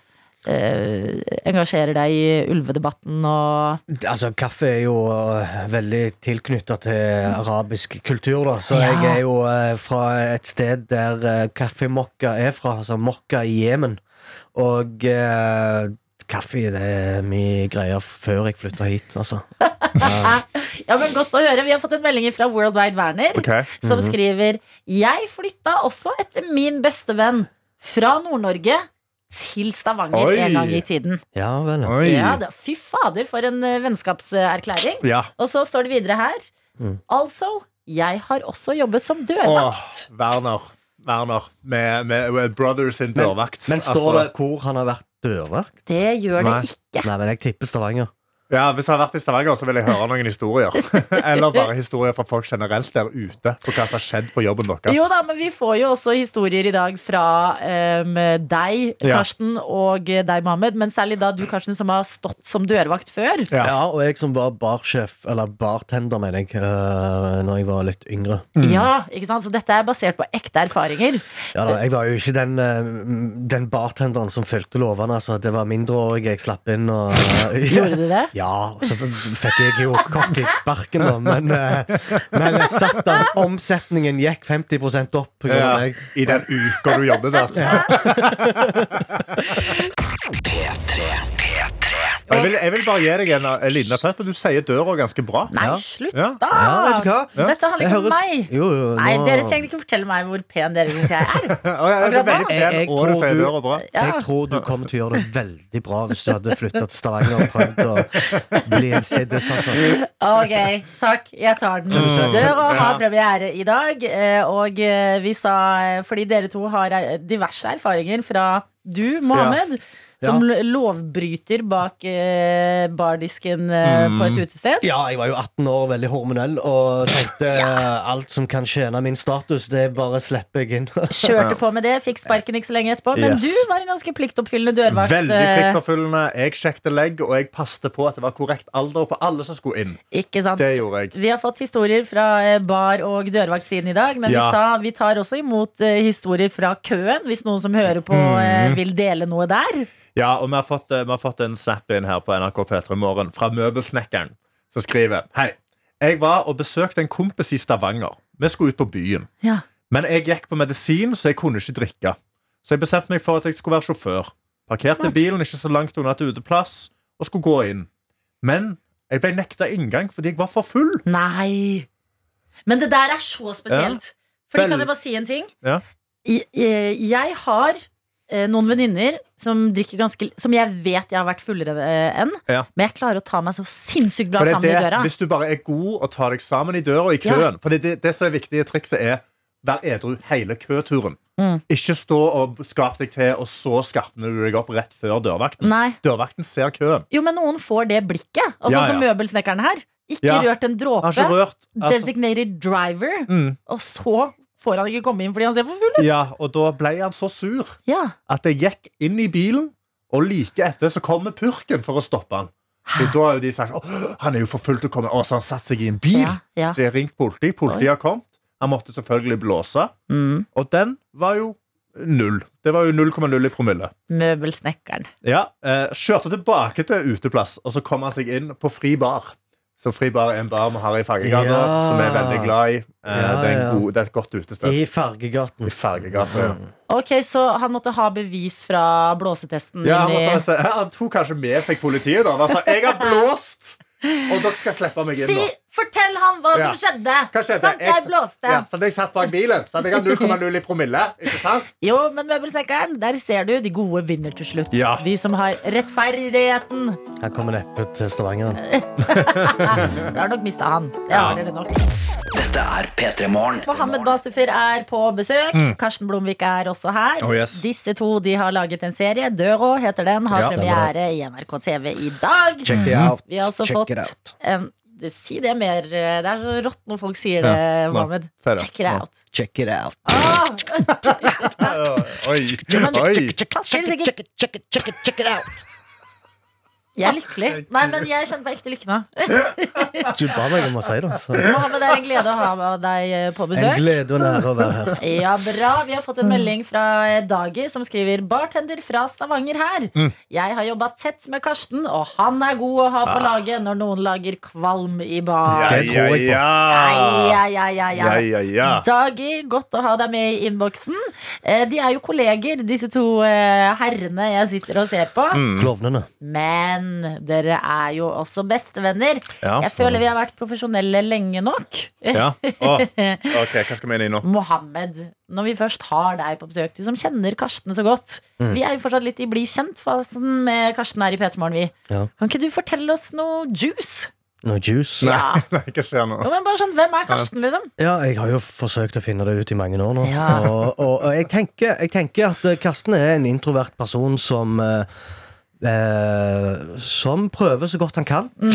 Speaker 2: engasjerer deg i ulvedebatten og
Speaker 7: Altså, kaffe er jo eh, veldig tilknytta til arabisk kultur, da. Så
Speaker 2: Mm. Ja.
Speaker 7: jeg er jo eh, fra et sted der eh, kaffemokka er fra, altså mokka i Jemen. Og eh, kaffe det er mye greier før jeg flytta hit, altså.
Speaker 2: Ja, men godt å høre. Vi har fått en melding fra World Wide Werner. som skriver Jeg flytta også etter min bestevenn fra Nord-Norge til Stavanger
Speaker 3: Oi.
Speaker 2: en gang i tiden.
Speaker 7: Ja vel. ja.
Speaker 3: Oi.
Speaker 2: Ja, da, fy fader, for en eh, vennskapserklæring.
Speaker 3: Ja.
Speaker 2: Og så står det videre her.
Speaker 7: Mm.
Speaker 2: Altså, jeg har også jobbet som dørvakt.
Speaker 3: Åh, Werner. Werner. Med, med, med Brothers in Altså, dørvakt.
Speaker 7: Men står det hvor han har vært dørvakt?
Speaker 2: Det gjør det
Speaker 3: Nei.
Speaker 2: ikke.
Speaker 7: Nei, men jeg tipper Stavanger.
Speaker 3: Ja, Hvis jeg har vært i Stavanger, så vil jeg høre noen historier. Eller bare historier fra folk generelt der ute. På hva som har skjedd på jobben deres.
Speaker 2: Jo da, men vi får jo også historier i dag fra em, deg,
Speaker 3: Ja.
Speaker 2: Karsten, og eh, deg, Mohammed. Men særlig da du, Karsten, som har stått som dørvakt før.
Speaker 3: Ja.
Speaker 7: Ja. og jeg som var barsjef, eller bartender, mener jeg, øh, når jeg var litt yngre.
Speaker 2: Ja, ikke sant? Så dette er basert på ekte erfaringer.
Speaker 7: Ja da, Jeg var jo ikke den, øh, den bartenderen som fulgte lovene. Altså, det var mindreårige jeg slapp inn. Og,
Speaker 2: Gjorde du det?
Speaker 7: Ja, og så fikk jeg jo korttidssparken, da. Men, øh, men jeg satt der. Omsetningen gikk 50 opp på grunn av
Speaker 3: Ja,
Speaker 7: meg.
Speaker 3: I den uka du jobber der. Jeg vil, jeg vil bare gi deg en, en liten applaus, for du sier døra ganske bra.
Speaker 2: Nei,
Speaker 7: Ja.
Speaker 2: slutt
Speaker 3: Ja.
Speaker 2: da!
Speaker 7: Ja, vet du hva?
Speaker 2: Dette handler
Speaker 7: Jeg
Speaker 2: ikke om
Speaker 7: høres-
Speaker 2: meg.
Speaker 7: Jo, jo,
Speaker 2: Nei,
Speaker 7: nå-
Speaker 2: Dere trenger ikke fortelle meg hvor pen dere syns jeg er.
Speaker 3: Og jeg, jeg, er veldig
Speaker 7: Jeg- jeg
Speaker 3: pen, og du
Speaker 7: tror
Speaker 3: sier
Speaker 7: du-
Speaker 3: døra bra.
Speaker 2: Ja.
Speaker 7: Jeg tror du kommer til å gjøre det veldig bra hvis du hadde flytta til Stavanger og prøvd å bli en siddis. Altså.
Speaker 2: Ok, takk. Jeg tar den.
Speaker 7: Mm.
Speaker 2: Døra
Speaker 3: Ja.
Speaker 2: har premiere i dag. eh, Og eh, vi sa eh, Fordi dere to har eh, diverse erfaringer fra du, Mohammed. Som l- lovbryter bak eh, bardisken eh, på
Speaker 3: Mm.
Speaker 2: et utested.
Speaker 7: Ja, jeg var jo 18 år, veldig hormonell, og tenkte eh, alt som kan tjene min status, det bare slipper jeg inn.
Speaker 2: Kjørte på med det, fikk sparken ikke så lenge etterpå. Men
Speaker 3: Yes.
Speaker 2: du var en ganske pliktoppfyllende dørvakt.
Speaker 3: Veldig
Speaker 2: eh,
Speaker 3: pliktoppfyllende. Jeg sjekket legg, og jeg passte på at det var korrekt alder på alle som skulle inn.
Speaker 2: Ikke sant?
Speaker 3: Det gjorde jeg.
Speaker 2: Vi har fått historier fra eh, bar- og dørvaktsiden i dag, men vi
Speaker 3: Ja.
Speaker 2: sa vi
Speaker 3: Mm.
Speaker 2: tar også imot eh, historier fra køen, hvis noen som hører på eh, vil dele noe der.
Speaker 3: Ja, og vi har fått, eh, vi har fått en snap inn her på NRK P3 Morgen fra Møbelsnekkeren, som skriver Hei. Jeg var og besøkte en kompis i Stavanger. Vi skulle ut på byen.
Speaker 2: Ja.
Speaker 3: Men jeg gikk på medisin, så jeg kunne ikke drikke. Så jeg bestemte meg for at jeg skulle være sjåfør. Parkerte
Speaker 2: Smart.
Speaker 3: bilen ikke så langt unna et uteplass og skulle gå inn. Men jeg ble nekta inngang fordi jeg var for full.
Speaker 2: Nei. Men det der er så spesielt. Fordi
Speaker 3: Vel-
Speaker 2: Kan jeg bare si en ting?
Speaker 3: Ja.
Speaker 2: I- eh, Jeg har eh, noen venninner som drikker ganske Som jeg vet jeg har vært fullere eh, enn,
Speaker 3: Ja.
Speaker 2: men jeg klarer å ta meg så sinnssykt bra
Speaker 3: For det er
Speaker 2: sammen i
Speaker 3: det,
Speaker 2: døra.
Speaker 3: Hvis du bare er god og tar deg sammen i døra og i
Speaker 2: Ja.
Speaker 3: køen For det, det, det som er viktige trikset er Vær edru hele køturen
Speaker 2: Mm.
Speaker 3: Ikke stå og skap deg til Og så skarpner du deg opp rett før dørvakten
Speaker 2: Nei.
Speaker 3: Dørvakten ser køen
Speaker 2: Jo, men noen får det blikket. Altså
Speaker 3: Ja,
Speaker 2: Som
Speaker 3: ja.
Speaker 2: møbelsnekkeren her. Ikke
Speaker 3: Ja.
Speaker 2: rørt en
Speaker 3: Han har
Speaker 2: dråpe.
Speaker 3: ikke rørt altså,
Speaker 2: Designated driver.
Speaker 3: mm,
Speaker 2: Og så får han ikke komme inn fordi han ser for full ut.
Speaker 3: Ja, og da ble han så sur
Speaker 2: Ja.
Speaker 3: At jeg gikk inn i bilen Og like etter så kommer purken for å stoppe han Og da har jo de sagt «Åh, Han er jo for fullt å komme Å, så han satt seg i en bil
Speaker 2: ja, ja.
Speaker 3: Så jeg ringte politi, politi har kommet Han måtte selvfølgelig blåse
Speaker 2: Mm.
Speaker 3: Og den var jo null. Det var jo 0,0 i promille.
Speaker 2: Møbelsnekkeren.
Speaker 3: Ja, eh, Kjørte tilbake til uteplass, og så kom han seg inn på fri bar. Så fri bar er en bar vi har i Fargegata,
Speaker 7: Ja.
Speaker 3: som jeg er veldig glad i. Eh,
Speaker 7: Ja,
Speaker 3: det, er
Speaker 7: ja.
Speaker 3: en god, det er et godt utested.
Speaker 7: I Fargegaten.
Speaker 3: I Fargegata, ja.
Speaker 2: Ok, Så han måtte ha bevis fra blåsetesten?
Speaker 3: ja
Speaker 2: inn
Speaker 3: han,
Speaker 2: i-
Speaker 3: måtte, altså, han tok kanskje med seg politiet, da. Han sa 'jeg har blåst', og dere skal slippe meg inn
Speaker 2: Si,
Speaker 3: nå.
Speaker 2: fortell han hva
Speaker 3: Ja.
Speaker 2: som skjedde!
Speaker 3: Hva skjedde?
Speaker 2: Sant? Jeg
Speaker 3: Jeg-
Speaker 2: blåste.
Speaker 3: Ja, så hadde jeg satt bak bilen. Så hadde jeg hatt 0,0 i promille. Ikke sant?
Speaker 2: Jo, men møbelsekkeren, der ser du de gode vinner til slutt.
Speaker 3: Ja.
Speaker 2: De som har rettferdigheten.
Speaker 7: Her kommer neppe til Stavanger.
Speaker 2: Da har nok mista han. Det
Speaker 3: Ja.
Speaker 2: har dere nok.
Speaker 5: Dette er P3 Morgen.
Speaker 2: Mohammed Basifir er på besøk. Karsten Blomvik er også her.
Speaker 3: Mm. Oh, yes.
Speaker 2: Disse to de har laget en serie. Døra heter den. Har
Speaker 7: Ja, den var
Speaker 2: premiere i NRK TV i dag.
Speaker 7: Check it out.
Speaker 2: Mm. Vi har også
Speaker 7: Check it
Speaker 2: fått-
Speaker 7: out.
Speaker 2: En, du, si det mer. eh, Det er så rått når folk sier det,
Speaker 3: Ja, nå,
Speaker 2: Mohammed.
Speaker 3: sier det.
Speaker 2: Check it
Speaker 3: Nå.
Speaker 2: out.
Speaker 7: Check it out.
Speaker 2: Ah,
Speaker 3: Oi.
Speaker 2: men-
Speaker 3: Oi.
Speaker 2: passer sikkert.
Speaker 7: Check it, check it, check it, check it out.
Speaker 2: Jeg er lykkelig. Nei, men jeg kjenner på ekte lykke nå.
Speaker 7: Du ba meg om å si det. Så.
Speaker 2: Mohammed, det er en glede å ha deg eh, på
Speaker 7: En
Speaker 2: besøk.
Speaker 7: glede og en ære å være her.
Speaker 2: Ja, bra. Vi har fått en melding fra eh, Dagi som skriver Bartender fra Stavanger her.
Speaker 3: Mm.
Speaker 2: Jeg har jobba tett med Karsten, og han er god å ha på
Speaker 3: Ah.
Speaker 2: laget når noen lager kvalm i bar.
Speaker 7: Det tror jeg på.
Speaker 3: Ja,
Speaker 2: Ai, ai, ai, ai,
Speaker 3: Ja,
Speaker 2: ai.
Speaker 3: ja, ja.
Speaker 2: Dagi, godt å ha deg med i innboksen. Eh, De er jo kolleger, disse to eh, herrene jeg sitter og ser på.
Speaker 3: Mm.
Speaker 7: Klovnene.
Speaker 2: Men dere er jo også bestevenner.
Speaker 3: Ja,
Speaker 2: Jeg føler vi har vært profesjonelle lenge nok.
Speaker 3: Ja. Åh, ok, Hva skal vi inn i nå?
Speaker 2: Mohammed, når vi først har deg på besøk, du som kjenner Karsten så godt
Speaker 3: Mm.
Speaker 2: Vi er jo fortsatt litt i bli kjent-fasen med Karsten her i P3 Morgen, vi.
Speaker 7: Ja.
Speaker 2: Kan ikke du fortelle oss noe juice?
Speaker 7: No juice.
Speaker 2: Ja.
Speaker 3: Nei, hva skjer nå?
Speaker 2: Jo, men bare sånn, Hvem er Karsten, liksom?
Speaker 7: Ja, jeg har jo forsøkt å finne det ut i mange år nå.
Speaker 2: Ja.
Speaker 7: Og, og, og jeg, tenker, jeg tenker at eh, Karsten er en introvert person som eh, eh, Som prøver så godt han kan.
Speaker 2: Mhm.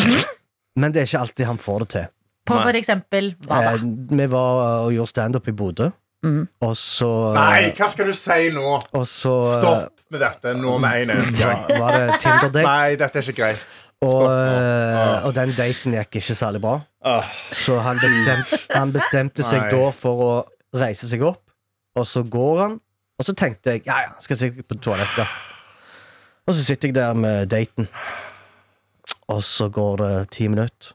Speaker 7: Men det er ikke alltid han får det til.
Speaker 2: På
Speaker 3: Nei.
Speaker 2: for eksempel hva da?
Speaker 7: Eh, vi var og gjorde standup i Bodø,
Speaker 2: Mhm.
Speaker 7: og så
Speaker 3: Nei, hva skal du si nå?
Speaker 7: Og så eh,
Speaker 3: Stopp med dette nå med en eneste gang.
Speaker 7: Var, var det Tinder-date,
Speaker 3: Nei, dette er ikke greit.
Speaker 7: og,
Speaker 3: stopp nå. Ah.
Speaker 7: eh, og den daten gikk ikke særlig bra.
Speaker 3: Åh,
Speaker 7: Så han, bestem, han bestemte seg
Speaker 3: Nei.
Speaker 7: da for å reise seg opp, og så går han. Og så tenkte jeg ja, ja, skal sikkert på toalettet. Og så sitter jeg der med daten, og så går det ti minutter.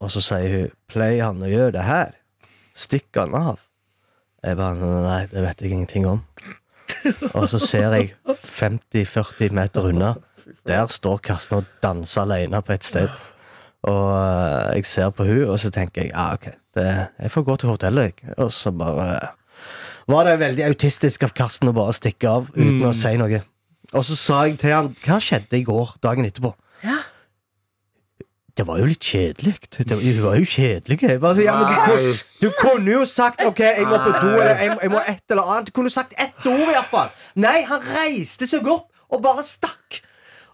Speaker 7: Og så sier hun 'Pleier han å gjøre det her? Stikker han av?' Jeg bare 'Nei, det vet jeg ingenting om'. Og så ser jeg 50-40 meter unna. Der står Karsten og danser alene på et sted. Og eh, jeg ser på hun, og så tenker jeg ja, ok, det, jeg får gå til hotellet. jeg». Og så bare var det veldig autistisk av Karsten å bare stikke av uten å si noe. Og så sa jeg til han hva skjedde i går, dagen etterpå. Det var jo litt kjedelig. Det var- Hun var jo kjedelig. Jeg bare, så, ja, men du, kunne, du kunne jo sagt OK, jeg må på do, eller jeg, jeg må et eller annet. Du kunne sagt ett ord, iallfall. Nei, han reiste seg opp og bare stakk.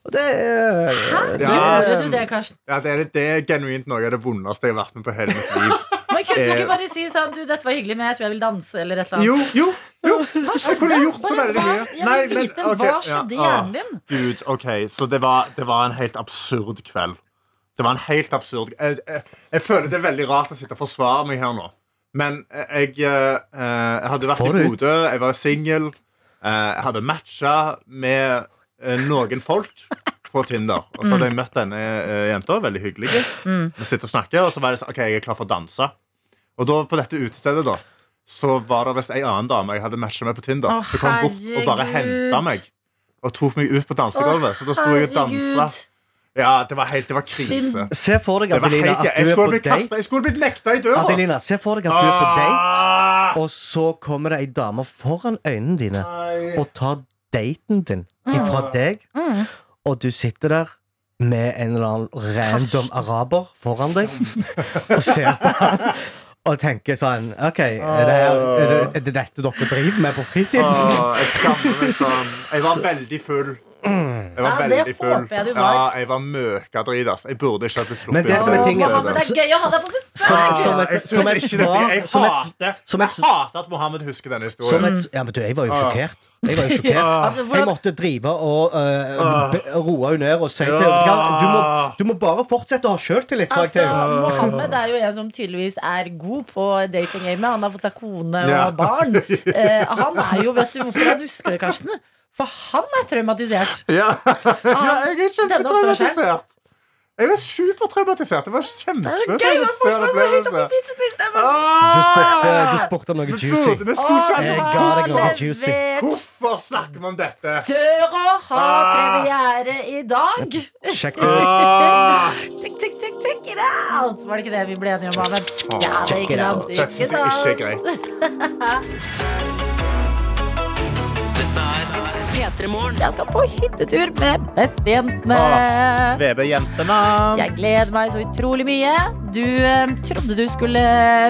Speaker 7: Og det eh,
Speaker 3: Ja.
Speaker 2: Gjorde du det, Karsten?
Speaker 3: ja, det, er, det er genuint noe av det vondeste jeg har vært med på hele mitt liv.
Speaker 2: Men Kunne du
Speaker 3: Eh.
Speaker 2: ikke bare si sånn Du, dette var hyggelig, men jeg tror jeg vil danse, eller et eller annet?
Speaker 3: Jo, jo, jo. Jeg kunne gjort så veldig mye.
Speaker 2: Jeg vil
Speaker 3: men-
Speaker 2: vite
Speaker 3: ok,
Speaker 2: hva skjedde i
Speaker 3: ja, åh,
Speaker 2: hjernen din.
Speaker 3: Ah, Gud, OK. Så det var, det var en helt absurd kveld. Det var en helt absurd jeg, jeg, jeg føler det er veldig rart å sitte og forsvare meg her nå. Men jeg, eh, eh, jeg hadde vært
Speaker 7: Få
Speaker 3: i
Speaker 7: det ut.
Speaker 3: Bodø, jeg var singel. eh, Jeg hadde matcha med eh, noen folk på Tinder. Og så hadde jeg møtt denne eh, jenta. Veldig hyggelig. Vi sitter og snakker, og så var det sånn OK, jeg er klar for å danse. Og da på dette utestedet, da, så var det visst ei annen dame jeg hadde matcha med på Tinder,
Speaker 2: Å,
Speaker 3: som kom bort og bare
Speaker 2: herregud.
Speaker 3: henta meg. Og tok meg ut på dansegulvet. Så da sto jeg og dansa. Ja, det var helt Det var krise.
Speaker 2: Synd.
Speaker 7: Se for deg,
Speaker 3: Det var helt,
Speaker 7: Adelina, at
Speaker 3: jeg,
Speaker 7: du er
Speaker 3: skulle
Speaker 7: på
Speaker 3: blitt kastet,
Speaker 7: date.
Speaker 3: jeg skulle blitt nekta i døra.
Speaker 7: Adelina, se for deg at du er på date,
Speaker 3: Ah!
Speaker 7: og så kommer det ei dame foran øynene dine og tar daten din ifra deg,
Speaker 2: Mm.
Speaker 7: og du sitter der med en eller annen random araber foran deg og ser på han og tenker sånn OK, er det, er det, er det dette dere driver med på fritiden?
Speaker 3: Åh, jeg skammer meg sånn. Jeg var veldig full. Jeg var
Speaker 2: Ja, det
Speaker 3: veldig full.
Speaker 2: håper jeg du var.
Speaker 3: Ja, jeg var møkadrit, ass. Jeg burde ikke ha blitt
Speaker 7: Men
Speaker 3: sluppet
Speaker 7: det som er
Speaker 3: ut.
Speaker 7: tingen-
Speaker 2: Åh, men det er gøy å ha deg på
Speaker 7: Som-
Speaker 2: besøk!
Speaker 7: som et-
Speaker 3: Jeg synes
Speaker 7: som et
Speaker 3: ikke det-
Speaker 7: svar-
Speaker 3: Jeg
Speaker 7: som et-
Speaker 3: hater
Speaker 7: som et-
Speaker 3: Jeg hater at Mohammed husker denne
Speaker 7: Som
Speaker 3: historien.
Speaker 7: et, ja, men du, jeg var jo
Speaker 3: Ah.
Speaker 7: sjokkert. Jeg var jo sjokkert.
Speaker 2: Altså,
Speaker 7: Jeg
Speaker 2: hvordan-
Speaker 7: måtte drive og
Speaker 3: Ah.
Speaker 7: uh, be- roe henne ned og si til
Speaker 3: Ja.
Speaker 7: henne «Vet du, hva? du, må- du må bare fortsette å ha sjøltillit. sa jeg til
Speaker 2: Altså,
Speaker 7: henne.
Speaker 2: Mohammed er jo en som tydeligvis er god på datinggamet. Han har fått seg kone
Speaker 3: Ja.
Speaker 2: og barn. Eh, han er jo, vet du hvorfor han husker det, Karsten? For han er traumatisert.
Speaker 3: Ja, jeg er
Speaker 2: Denne oppførselen.
Speaker 3: kjempetraumatisert. Jeg var supertraumatisert. Det var kjempetraumatisert opplevelse. Ah!
Speaker 2: Altså-
Speaker 7: Du spurte, du spurte om noe
Speaker 3: Vi burde-
Speaker 7: juicy.
Speaker 3: vi skulle ikke ha
Speaker 7: Jeg
Speaker 3: dratt
Speaker 7: ga deg
Speaker 3: det.
Speaker 7: noe juicy.
Speaker 3: Hvorfor snakker vi om dette?
Speaker 2: Døra har
Speaker 3: Ah.
Speaker 2: premiere i dag.
Speaker 7: Sjekk det ut.
Speaker 3: Ah,
Speaker 2: Check, check, check, check it out! Var det ikke det vi ble enige om, Ahmed?
Speaker 3: Faen.
Speaker 2: Ja, det er ikke sant.
Speaker 3: Dette
Speaker 2: Ikke
Speaker 3: synes jeg ikke er
Speaker 2: sant.
Speaker 3: greit.
Speaker 1: Dette er P3 Morgen.
Speaker 2: Jeg skal på hyttetur med bestejentene.
Speaker 3: Ah, VB-jentene.
Speaker 2: Jeg gleder meg så utrolig mye. Du eh, trodde du skulle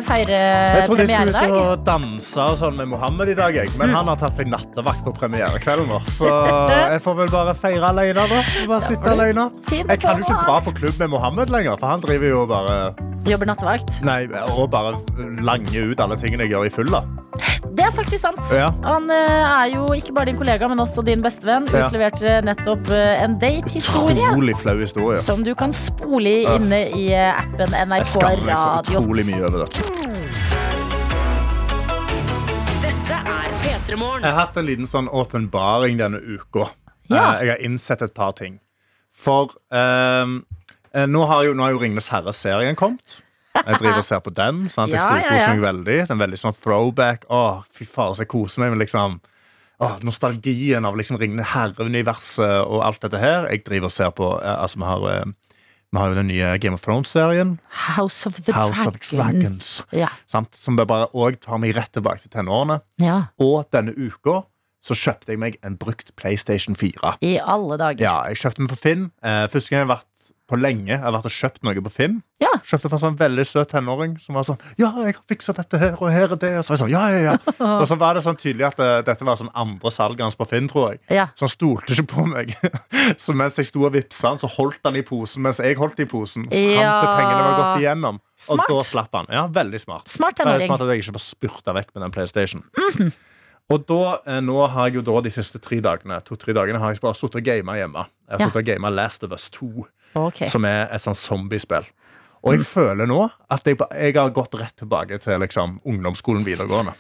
Speaker 2: feire
Speaker 3: Jeg trodde jeg
Speaker 2: premiere i
Speaker 3: skulle ut
Speaker 2: dag. Mm.
Speaker 3: og danse og sånn med Mohammed i dag, jeg. men han har tatt seg nattevakt på premierekvelden vår. Så jeg får vel bare feire alene, da. Bare sitte alene.
Speaker 2: Finn
Speaker 3: Jeg kan jo ikke
Speaker 2: på
Speaker 3: dra
Speaker 2: alt.
Speaker 3: på klubb med Mohammed lenger, for han driver jo bare
Speaker 2: Jobber nattevakt.
Speaker 3: Nei, og bare langer ut alle tingene jeg gjør i fylla.
Speaker 2: Det er faktisk sant.
Speaker 3: Ja.
Speaker 2: Han eh, er jo ikke bare din kollega, men også din bestevenn.
Speaker 3: Ja.
Speaker 2: Utleverte nettopp eh, en date-historie.
Speaker 3: Utrolig flau historie.
Speaker 2: Som du kan spole i
Speaker 3: Ja.
Speaker 2: inne i eh, appen
Speaker 3: Jeg
Speaker 2: NRK
Speaker 3: skammer meg så
Speaker 2: Radio.
Speaker 3: utrolig mye over det.
Speaker 1: Dette er P3 Morgen.
Speaker 3: Jeg har hatt en liten sånn åpenbaring denne uka.
Speaker 2: Ja.
Speaker 3: Eh, Jeg har innsett et par ting. For ehm, eh, nå har jo, nå har jo Ringenes herre-serien kommet. Jeg driver og ser på den. Sant? Jeg
Speaker 2: Ja, ja,
Speaker 3: storkoser
Speaker 2: ja.
Speaker 3: meg veldig. Den er veldig sånn throwback. Åh, fy faen, så jeg koser meg med liksom Åh, nostalgien av liksom Ringende herre-universet og alt dette her. Jeg driver og ser på eh, Altså, vi har, eh, vi har jo den nye Game of Thrones-serien.
Speaker 2: House of the
Speaker 3: House
Speaker 2: Dragon.
Speaker 3: of Dragons.
Speaker 2: Ja.
Speaker 3: Sant? Som bare òg tar meg rett tilbake til tenårene.
Speaker 2: ja.
Speaker 3: Og denne uka så kjøpte jeg meg en brukt PlayStation 4.
Speaker 2: I alle dager.
Speaker 3: Ja, jeg kjøpte den på Finn. Eh, første gang jeg har vært på lenge, jeg har vært og kjøpt noe på Finn.
Speaker 2: Ja.
Speaker 3: Kjøpte for en sånn veldig søt tenåring som var sånn Ja, jeg har fiksa dette her, og her er det. Og så, var jeg sånn, ja, ja, ja. og så var det sånn tydelig at eh, dette var sånn andre salget hans på Finn, tror jeg.
Speaker 2: Ja.
Speaker 3: Så han stolte ikke på meg. så mens jeg sto og vippsa han, så holdt han i posen mens jeg holdt i posen. Så Fram til
Speaker 2: Ja.
Speaker 3: pengene var gått igjennom.
Speaker 2: Smart.
Speaker 3: Og da slapp han. Ja, veldig smart.
Speaker 2: Smart
Speaker 3: Det er
Speaker 2: tenåring.
Speaker 3: smart at jeg ikke bare spurta vekk med den PlayStation.
Speaker 2: Mhm.
Speaker 3: Og da, eh, nå har jeg jo da de siste tre dagene to-tre dagene har jeg bare sittet og gama hjemme. Jeg har
Speaker 2: Ja.
Speaker 3: suttet og gamet Last of Us 2,
Speaker 2: Ok. Mm.
Speaker 3: som er et sånn zombiespill. Og jeg føler nå at jeg, ba- jeg har gått rett tilbake til liksom, ungdomsskolen videregående.